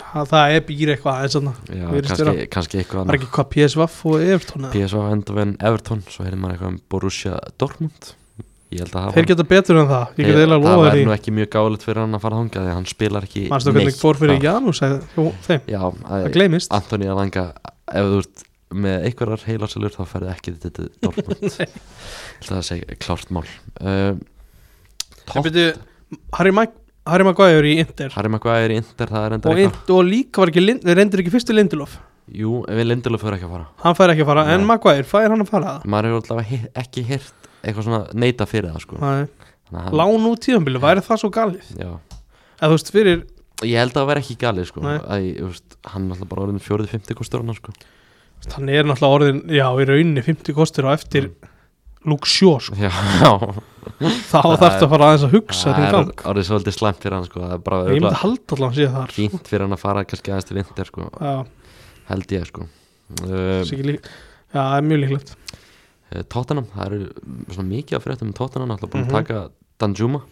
B: það, það er býr eitthvað aðeins þarna.
A: já,
B: Virðist
A: kannski, kannski eitthvað
B: var
A: annað
B: ekki hvað PSVaf og Evertón eða?
A: PSV Eindhoven Everton Svo heyrði maður eitthvað um Borussia Dortmund Ég held að það
B: þeir geta betur en það, ég get
A: Þeir-
B: eiginlega að
A: það
B: lofa
A: væri nú
B: því
A: ekki mjög gáðilegt fyrir hann að fara þangað Þegar hann spilar ekki
B: mannstu hvernig fór fyrir
A: þar.
B: Janus eða- hjó, þeim,
A: Já, að-
B: það gleymist
A: Antoni Alanga Ef þú ert með einhverjar heilarselur Þá ferði ekki þetta Dortmund Það að segja klárt mál um,
B: en byrju, Harry, Mag Harry Maguire í Inter
A: Harry Maguire í Inter Það er
B: og,
A: endar
B: Int- og líka var ekki, Lind- reyndir ekki fyrstu Lindelof
A: Jú, en við Lindelof fyrir ekki að fara
B: hann fær ekki að fara, en
A: Nei.
B: Maguire, fær hann að fara
A: maður hefur alltaf he ekki hirt eitthvað svona neyta fyrir það sko
B: það
A: Þannig að hann-
B: lán út tíðanbílu, væri það svo galið
A: já.
B: eða þú veist, fyrir,
A: ég held að það væri ekki galið sko
B: Nei.
A: að, ég, þú veist, hann er alltaf bara orðin fjórið fymti kostur hann sko
B: hann er náttúrulega orðin já, í rauninni 50 kostur og eftir
A: Mm.
B: Luke Shaw, sko.
A: já, það
B: þá
A: Það
B: þarf það að fara aðeins að hugsa þinn
A: er
B: gang,
A: orðið svolítið slæmt fyrir hann sko það er bara
B: ég myndi
A: örugglega
B: halda allan síðan þar sko.
A: fínt fyrir hann að fara kannski aðeins til vinter sko
B: já,
A: held ég sko Uh, eh,
B: sé ekki lík- já, það er mjög líklegt
A: Tottenham, það eru svona mikið að fréttum um Tottenham, alltaf búin
B: Mhm.
A: að taka Danjuma,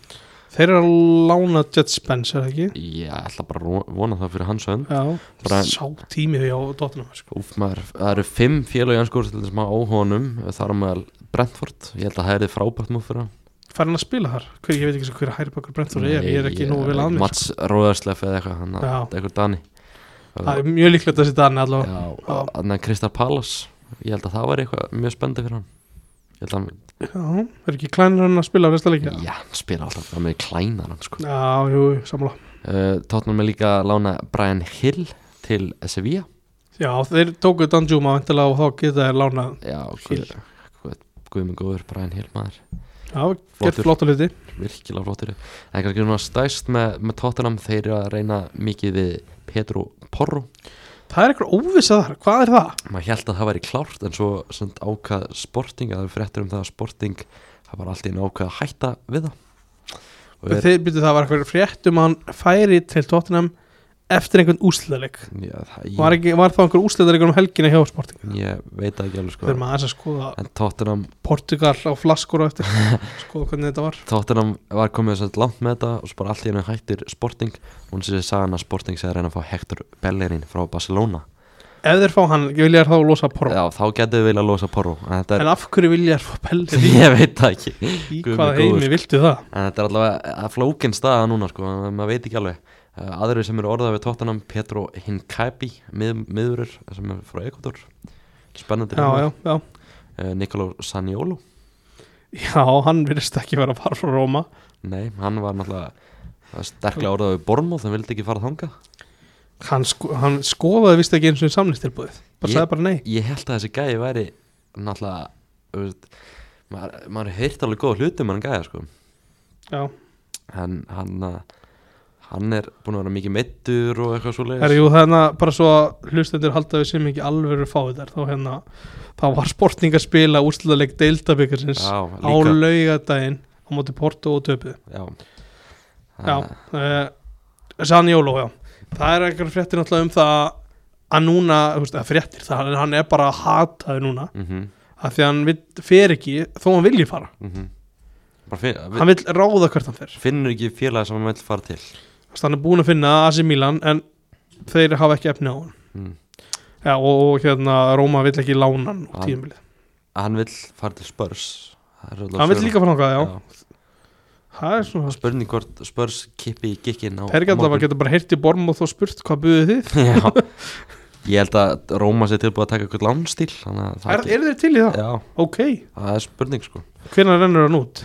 B: Þeir eru að lána Jet Spence, er það ekki?
A: ég ætla bara að ro- vona það fyrir hans hönd
B: Já,
A: Bara-
B: sá tími hjá Tottenham sko.
A: Úf, maður, það eru fimm félag í anskóðsildin sem á honum, þar á meðal Brentford, ég held að það er þið frábært múð fyrir hann
B: Fær hann að spila þar? Hver, ég veit ekki hver hæri bakur Brentford er, ég er ekki nógu vel að mér sko.
A: Mats Róðarsleff eða eitthvað, hann
B: Já.
A: er eitthvað Dani
B: Það er mjög líklegt að setja hann allavega
A: Já, hann er Kristar Pallas ég held að það var eitthvað mjög spendið fyrir hann ég held að hann,
B: Já, er ekki klænir hann að spila á næsta leikja?
A: já, hann spila alltaf bara með klænar hann sko
B: Já, jú, sammála
A: uh, Tóttnum er líka að lána Brian Hill til Sevilla
B: Já, þeir tóku Dan Juma vantilega og þá geta þeir lána
A: já,
B: Hill.
A: guð, guð, guð minn góður Brian Hill maður
B: Já, gett
A: Flottur.
B: flotta hluti
A: virkilega flottir en kannski núna stæst með, með Tottenham þeir eru að reyna mikið við Petru Porro
B: Það er eitthvað óvissa þar, hvað er það?
A: maður held að það væri klárt en svo samt ákvað Sporting að það er fréttur um það að Sporting það var alltaf einu ákvað að hætta við það og er,
B: Þeir byrjuðu það var eitthvað frétt um að hann færi til Tottenham eftir einhvern úsliðarleik
A: já, það,
B: var,
A: ég,
B: ekki- var þá einhver úsliðarleik um helgina hjá Sporting?
A: ég veit það ekki alveg
B: Þeir
A: sko
B: maður aðeins að skoða
A: en Tottenham,
B: Portugal á flaskur á eftir skoða hvernig þetta var
A: Tottenham var komið samt langt með þetta og svo bara alltaf einu hættir Sporting hún sér sagan að Sporting sé að reyna að fá Hector Bellerin frá Barcelona
B: ef þeir fá hann, vilja þær þá losa Porro
A: já, þá getur við vilja losa Porro en þetta er,
B: en af hverju vilja þær fá Pellir í,
A: ég veit það ekki
B: í
A: Guð minn
B: hvaða
A: góður, sko.
B: heimi viltu það
A: En þetta er allavega að flókin staða núna sko, en maður veit ekki alveg. Eh, Aðrir sem eru orðað við Tottenham, Petro Hinkaipi, mið, miðurur sem er frá Ekvator, spennandi
B: já, já, já,
A: já. Nikoló Saniolo,
B: já, hann virðist ekki vera að fara frá Róma
A: nei, hann var náttúrulega sterklega orðað við Bormóð, hann vildi ekki fara þangað.
B: hann, sko, hann skoðaði vist ekki eins og samlistilbúðið bara
A: Ég-
B: sagði bara nei
A: Ég held að þessi gæi væri náttúrulega, þú veist, maður, maður heirt alveg góða hlutum með hann gæja sko.
B: já.
A: En hann, eh, hann er búin að vera mikið meittur og eitthvað svo leiðis.
B: Herri, jú, hérna, bara svo að hlustendur halda við sem ekki alveg fáið þær þá hérna, þá var Sporting að spila úrslutaleg deildabikarsins á
A: Já, líka,
B: laugadaginn á móti Porto og töpuð
A: já.
B: Já,
A: Eh,
B: uh, Sanjóló, já Það er eitthvað fréttir náttúrulega um það að núna, þú veist, að fréttir það er- hann er bara að hata þau núna
A: mhm.
B: að því að hann vill, fer ekki, þó hann vilji fara
A: mm bara finn,
B: hann vill ráða hvert hann fer
A: finnur ekki félagi sem hann vil fara til
B: Þess, hann er búin að finna AC Milan en þeir hafa ekki efni á hann
A: mm.
B: já, og, og hérna, Róma vill ekki lána hann úr
A: Hann-
B: tíðumbilið,
A: hann vil fara til Spurs Það er alveg
B: hann vill
A: sögur.
B: líka fara náttúrulega, já. það er svona
A: spurning hvort Spurs kippi í gikkin á
B: Þeir geta bara,
A: morgun.
B: geta bara heyrt í borm og þó spurt hvað buðið þið
A: Já. ég held að Róma sé tilbúið að taka eitthvað lánstíl þannig að
B: Er,
A: það
B: er þeir til í það?
A: já,
B: Ok,
A: það er spurning sko
B: hvenær rennur hann út?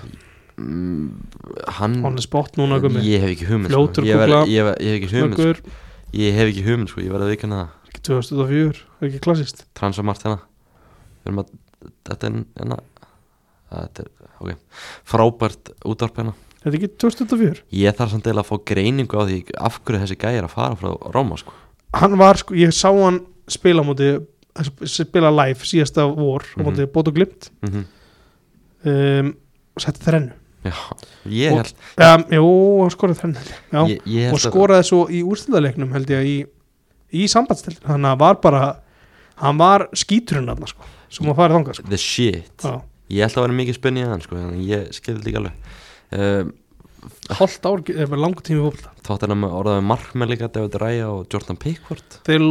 A: mm, hann
B: Hann er spott núna gummi
A: ég hef ekki hugmynd sko.
B: Fljótur
A: ég, verð-
B: kúkla.
A: ég, verð- ég hef ekki hugmynd sko.
B: Snöggur,
A: ég hef ekki hugmynd sko, ég verði að vikana það
B: ekki 2004, er ekki klassist
A: transfermart hérna við erum að þetta er hérna þetta er, ok, frábært útvarp hérna
B: Er þetta ekki 2004?
A: ég þarf samt eða að fá greiningu á því af hverju þessi gæi er að fara frá Róma sko
B: Hann var, sko, ég sá hann spila á móti spila live síðasta vor á móti Bótt og Glimt
A: mm
B: um, og setti þrennu
A: já, ég
B: Og-
A: held
B: um, Jú, hann skoraði þrennu held ég. Já,
A: ég, ég
B: og
A: held
B: skoraði svo í úrstildaleiknum held ég í, í sambandstildin þannig að hann var bara hann var skíturinn hann sko, sem að fara þangað sko.
A: the shit
B: Já.
A: ég held að vera mikið spenni að hann sko en ég skilði líka alveg um,
B: hálft ár er bara langur tími í fólkta
A: Tottenham orðaði markmenn líka David Raya og Jordan Pickford
B: þeir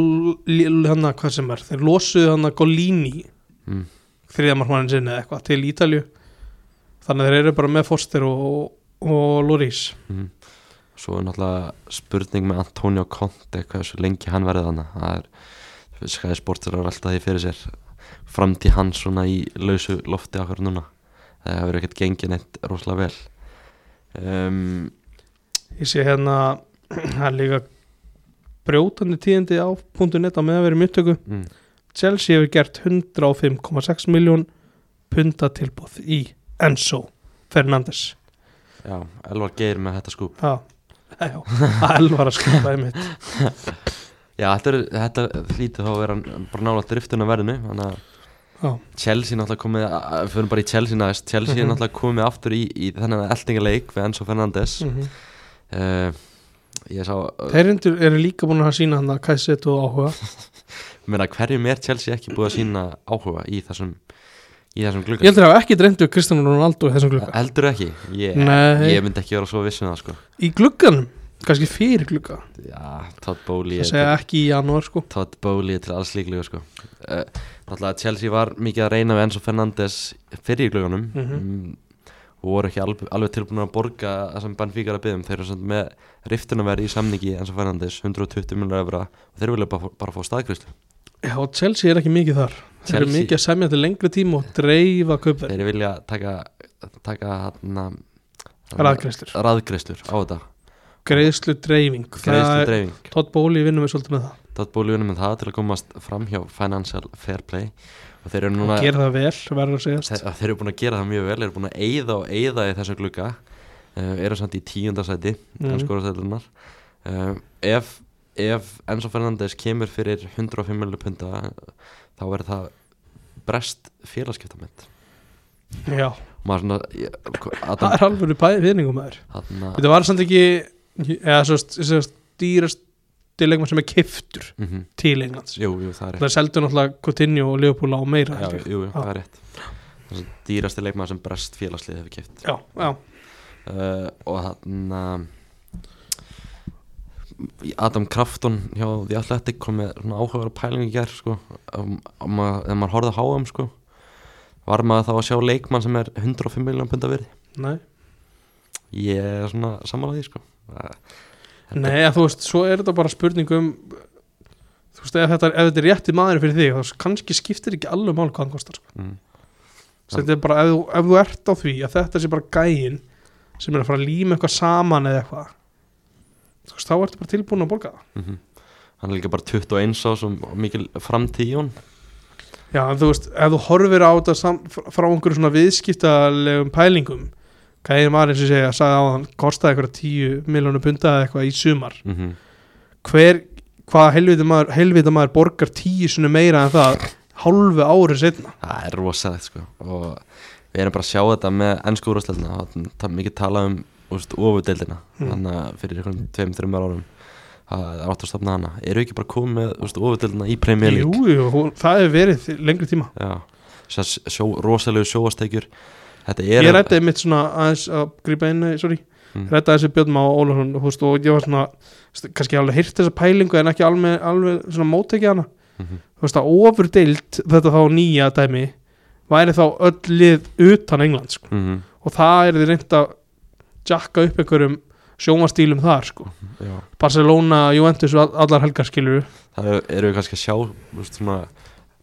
B: hann að hvað sem er þeir losuðu hann að Golini
A: mm.
B: Hmm. þriðamarkmannin sinni eða eitthvað til Ítalju þannig að þeir eru bara með Foster og, og Loris
A: Mm. Svo er náttúrulega spurning með Antonio Conte hversu lengi hann verði þannig það er skæði sportur að alltaf því fyrir sér framtíð hans svona í lausu lofti okkur núna það hefur ekkert gengið neitt rosalega vel um,
B: ég sé hérna það er líka brjótandi tíðindi á .net á meðan við erum í upptöku
A: mm,
B: Chelsea hefur gert 105,6 miljón punta tilbúð í Enzo Fernandes
A: Já, Elvar Geir með þetta skúp
B: Já, já, alvar að skoða það mitt
A: Já, þetta, er, þetta hlýtur þá að vera bara nála driftuna verðinu þannig að
B: Já,
A: Chelsea náttúrulega komið, að- förum bara í Chelsea næst Chelsea er
B: Mhm.
A: náttúrulega komið aftur í, í þennan eldingaleik við Enzo Fernandes mm.
B: mm
A: Ég sá
B: Þeir reyndu- eru líka búin að sína hann að kæsið og áhuga
A: meina hverjum er Chelsea ekki búið að sína áhuga í þessum í þessum
B: Ég
A: glugga
B: heldur að hafa ekki dreymdu Kristján Ronaldo í þessum glugga
A: heldur ekki, ég,
B: Nei.
A: ég myndi ekki vera svo viss um það sko
B: Í glugganum, kannski fyrir glugga
A: já, Todd Bowley
B: Það
A: er
B: segja
A: til,
B: ekki í janúar sko
A: Todd Bowley er til alls líklega sko uh, náttúrulega Chelsea var mikið að reyna við Enzo Fernandes fyrir í glugganum mm
B: Mhm.
A: og voru ekki alveg, alveg tilbúin að borga það sem Benfica er að byggja um, þeir eru samt með riftunarverð í samningi Enzo Fernandes 120 miljonar efra og þeir vilja bara, bara fá staðkvæslu
B: Já, Chelsea er ekki mikið þar Þeir eru
A: Chelsea.
B: mikið að semja til lengri tíma og dreifa kaupverð
A: þeir vilja taka taka hann
B: Raðgreiðslur.
A: raðgreislur á þetta
B: Greiðslu dreifing
A: greiðslu dreifing
B: Todd Bóli vinnum við svolítið með það
A: Tótt bóljunum með það til að komast fram hjá Financial Fair Play og þeir eru núna
B: og gera það vel, verður að segjast
A: þeir, þeir eru búin að gera það mjög vel þeir eru búin að eyða og eyða í þessum glugga uh, eru samt í tíundasæti mm. en
B: Mhm.
A: skórastælunar uh, ef, ef Enzo Fernandes kemur fyrir 105 miljonar punta eh, þá verður það brest félagskiptament
B: Já,
A: maður svona ég-
B: það
A: Adam,
B: er alveg viðningum með þér
A: Adam,
B: Þetta var samt ekki eða svo, svo dýrasti leikmann sem er kiftur
A: mm -hmm,
B: til Englands
A: jú, jú, það er
B: Það seldu náttúrulega Coutinho og Leopold á meira
A: Já,
B: held ég.
A: jú, jú,
B: Já.
A: það er rétt Það er dýrasti leikmaður sem brest félagslið hefur kipt
B: já, já,
A: uh, Og hann uh, Adam Krafton hjá The Athletic kom með svona áhugaverða pælingu í gær sko, um, um, að- ef maður horfði á háum sko, var maður þá að sjá leikmann sem er 105 miljón punda virði
B: nei
A: Ég er svona samanlega því sko. Það- þetta-
B: Nei, að þú veist, svo er þetta bara spurning um þú veist, ef þetta, ef þetta er rétti maður fyrir þig, þá kannski skiptir ekki alveg mál hvað hann kostar, sko.
A: mm,
B: Svo þetta er bara, ef þú, ef þú ert á því að þetta sé bara gæin sem er að fara að líma eitthvað saman eða eitthvað þú veist, þá ertu bara tilbúin að borga það.
A: mhm. Hann er líka bara 21 ás og og mikil framtíð í hún
B: Já, en þú veist, ef þú horfir á þetta sam, frá einhverju svona viðskiptalegum pælingum, gæin maður eins og ég segja, sagði á hann, kostaði eitthvað 10 miljónu punda eða eitthvað í sumar
A: mm
B: hver, hvað helvita maður, helvita maður borgar 10 sinu meira en það hálfu ári setna
A: Það er rosalegt sko og við erum bara að sjá þetta með ennsku úrvarsleilina og það er mikið talað um ofudeildina
B: Mm.
A: þannig að fyrir einhvern tveim, þreymar árum að það er átt að stopna hana eru ekki bara komið með ofudeildina í Premier
B: Jú,
A: League
B: jú, hún, það hefur verið lengri tíma
A: Já, þessar sjó, rosalegu sjóastekjur Þetta er
B: Ég rætti einmitt svona aðeins að grípa inn eh, sorry,
A: Mm.
B: rætti aðeins við Björn Má Ólafsson þú veist, og ég var svona, st- kannski alveg hýrt þessa pælingu en ekki alveg, alveg svona móttekið hana
A: Mhm.
B: þú veist að ofur deilt þetta þá nýja dæmi væri þá öll lið utan England sko.
A: Mhm,
B: og það er þið reynd að jakka upp einhverjum sjómastílum þar sko.
A: já.
B: Barcelona, Juventus og all- allar helgar skilur
A: Það eru- eru við kannski að sjá úst, svona,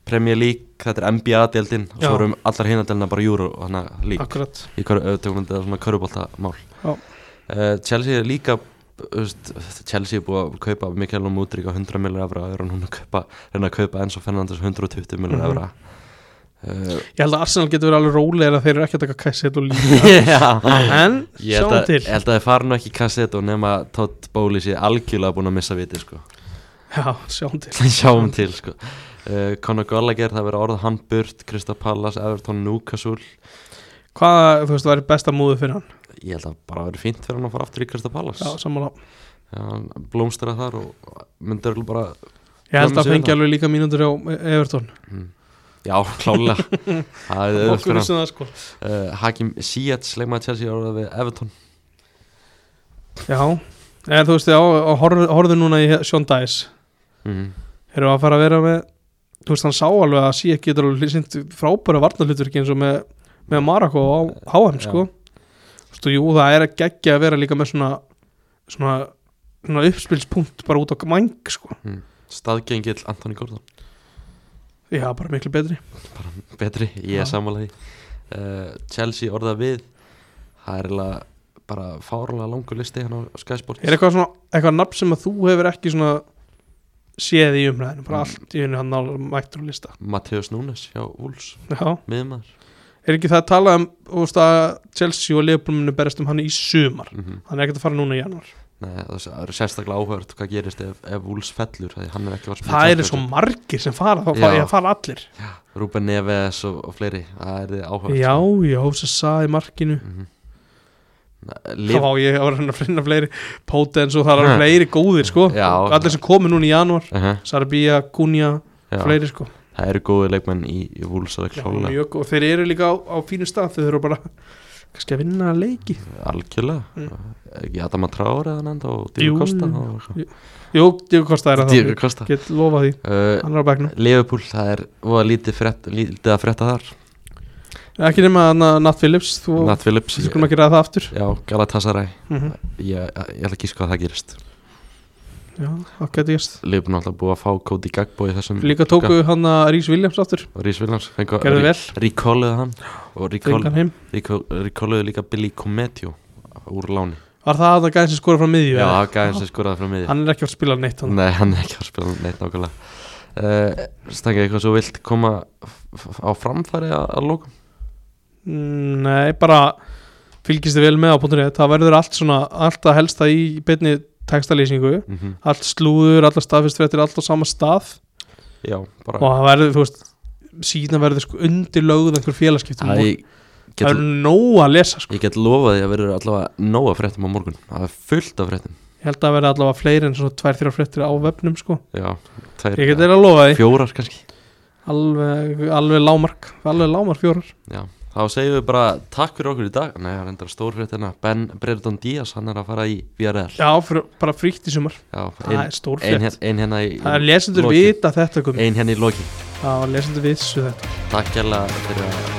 A: Premier League, þetta er NBA-deildin og
B: Já.
A: svo erum allar hinadeldina bara Euro og þannig að lík
B: akkurat
A: í tökum þetta svona körubóltamál
B: Já.
A: uh, Chelsea er líka Úst, Chelsea er búið að kaupa Mikael og Múdrík á 100 millir evra og er núna að kaupa, reyna að kaupa Enzo Fernandes 120 millir
B: Mhm.
A: evra uh,
B: Ég held að Arsenal getur verið alveg rólegir að þeir eru ekki að taka kæsið og líka
A: yeah.
B: en
A: ég held
B: sjáum
A: að,
B: til
A: ég held að þið fara nú ekki í kassett og nema að Todd Bowley sé algjörlega búin að missa viti sko.
B: Já, sjáum til
A: sjáum til sko. uh, Conor Gallagher, það verið orðað hann burt Krista Pallas, Everton, Newcastle
B: Hvað, þú veist, væri besta múðu fyrir hann
A: ég held að bara verið fínt fyrir hann að fara aftur í Krista Pallas
B: Já, sammála
A: Já, hann blómstara þar og myndur bara
B: Ég
A: Hvað
B: held að
A: með
B: fengi
A: Sigurðar?
B: alveg líka mínútur á Everton
A: Já, klálega Það er auðvitað
B: Okkur
A: fyrir hann Eh,
B: vissum það sko
A: uh, Hakim Ziyech, leikmaður Chelsea áraði við Everton
B: Já, en þú veist, já, og horf- horfðu núna í Sean Dice Mhm.
A: mm.
B: Erum við að fara að vera með Þú veist, hann sá alveg að Sía getur alveg sýnt frábæra varnarhlutverki eins og með, með Marako á HM, sko Þú veist, og jú, það er að geggja að vera líka með svona svona, svona uppspilspunkt bara út á mæng, sko
A: staðgengill Antoni Gordon
B: Já, bara miklu betri
A: betri, ég
B: Já.
A: er samanlega uh, Chelsea orða við það er eiginlega bara fárlega langur listi hann á Sky Sports
B: Er eitthvað svona, eitthvað nafn sem að þú hefur ekki svona séð í umræðinu, bara
A: Mm.
B: allt í henni hann á mættur og lista
A: Mateus Núnes hjá Wolves,
B: Já
A: miðmar
B: er ekki það að tala um úst, að Chelsea og Liverpool munu berist um hann í sumar
A: mm -hmm.
B: hann er ekkert að fara núna í januar
A: Nei, það það er sérstaklega áhört hvað gerist ef, ef Wolves fellur því hann er ekki var
B: það eru svo margir sem fara þá fara,
A: Já.
B: ég, fara allir
A: Rúben Neves og, og fleiri það er þið áhört
B: já, já, þess að sagði markinu
A: mm
B: þá
A: Liv,
B: á ég að vera að finna fleiri Potens og það eru
A: Ha.
B: fleiri góðir sko
A: Já.
B: allir sem komu núna í januar
A: uh -huh,
B: Sarabia, Gunja, fleiri sko
A: það eru góði leikmenn í, í Wolves alveg
B: já,
A: klálega
B: mjög góð, þeir eru líka á, á fínu stað þeir eru bara kannski að vinna leiki
A: algjörlega
B: Mm.
A: Er ekki Adama Traore eða nefnda og
B: Jú,
A: Díu Kosta
B: jú.
A: og eitthvað.
B: jú, Diego Costa er að
A: Diego
B: það
A: Costa
B: get lofað því,
A: uh,
B: hann er á begnum
A: Liverpool, það er voða lítið, frett, lítið að frétta þar
B: ekki nema þarna Nat Phillips þú
A: Nat Phillips,
B: Við skulum ekki ræða það aftur
A: já, Galatasaray
B: mm
A: ég, ég ætla að gíska hvað það gerist
B: Já, það getur gerst
A: Liverpool náttúrulega búið að fá Cody Gagbo í þessum
B: Líka tóku hann að Rís Williams aftur
A: og Rhys Williams fengu að
B: Gerðu vel,
A: recalluðu hann og
B: fengi
A: recall-
B: hann heim
A: recall- recalluðu líka Billy Cometio úr láni
B: Var það að það gæði sem skora frá miðju?
A: já,
B: eða?
A: það gæði sem skoraði frá miði
B: Hann er ekki að spila um neitt hann
A: nei, hann er ekki að spila neitt nákvæmlega uh, stangið eitthvað svo vilt koma f- f- á framfæri að, að lókum
B: Mm, Nei, bara fylgist þið vel með á punktunni Það verður allt svona, allt að helsta í beinni textalýsingu
A: mm
B: Allt slúður, allar staðfistfrettir, allt á sama stað
A: já, bara
B: Og það verður, þú veist Síðan verður sko undirlögð einhver félagskiptum
A: Æ,
B: og
A: ég,
B: Það
A: get,
B: verður nóg að lesa sko
A: ég get lofað því að verður allavega nóga fréttum á morgun það er fullt af fréttum
B: Ég held að það verður allavega fleiri en svona tvær, þrjá frettir á vefnum sko
A: já, tær,
B: Ég get þeirra að lofa því
A: fjórar kannski
B: Alveg, alveg lámark, alveg lámark fjórar
A: Já, þá segjum við bara takk fyrir okkur í dag Nei, hann endar stórfréttina hérna. Ben Brereton Díaz, hann er að fara í VRL
B: Já, fyr, bara fríkt í sumar
A: Já,
B: Það
A: ein,
B: er stór
A: ein,
B: frétt
A: hér- ein hérna í
B: Það er lesendur
A: lokin.
B: vita þetta komið
A: Ein hérna í loki
B: Það er lesendur vissu þetta
A: Takk hérlega fyrir að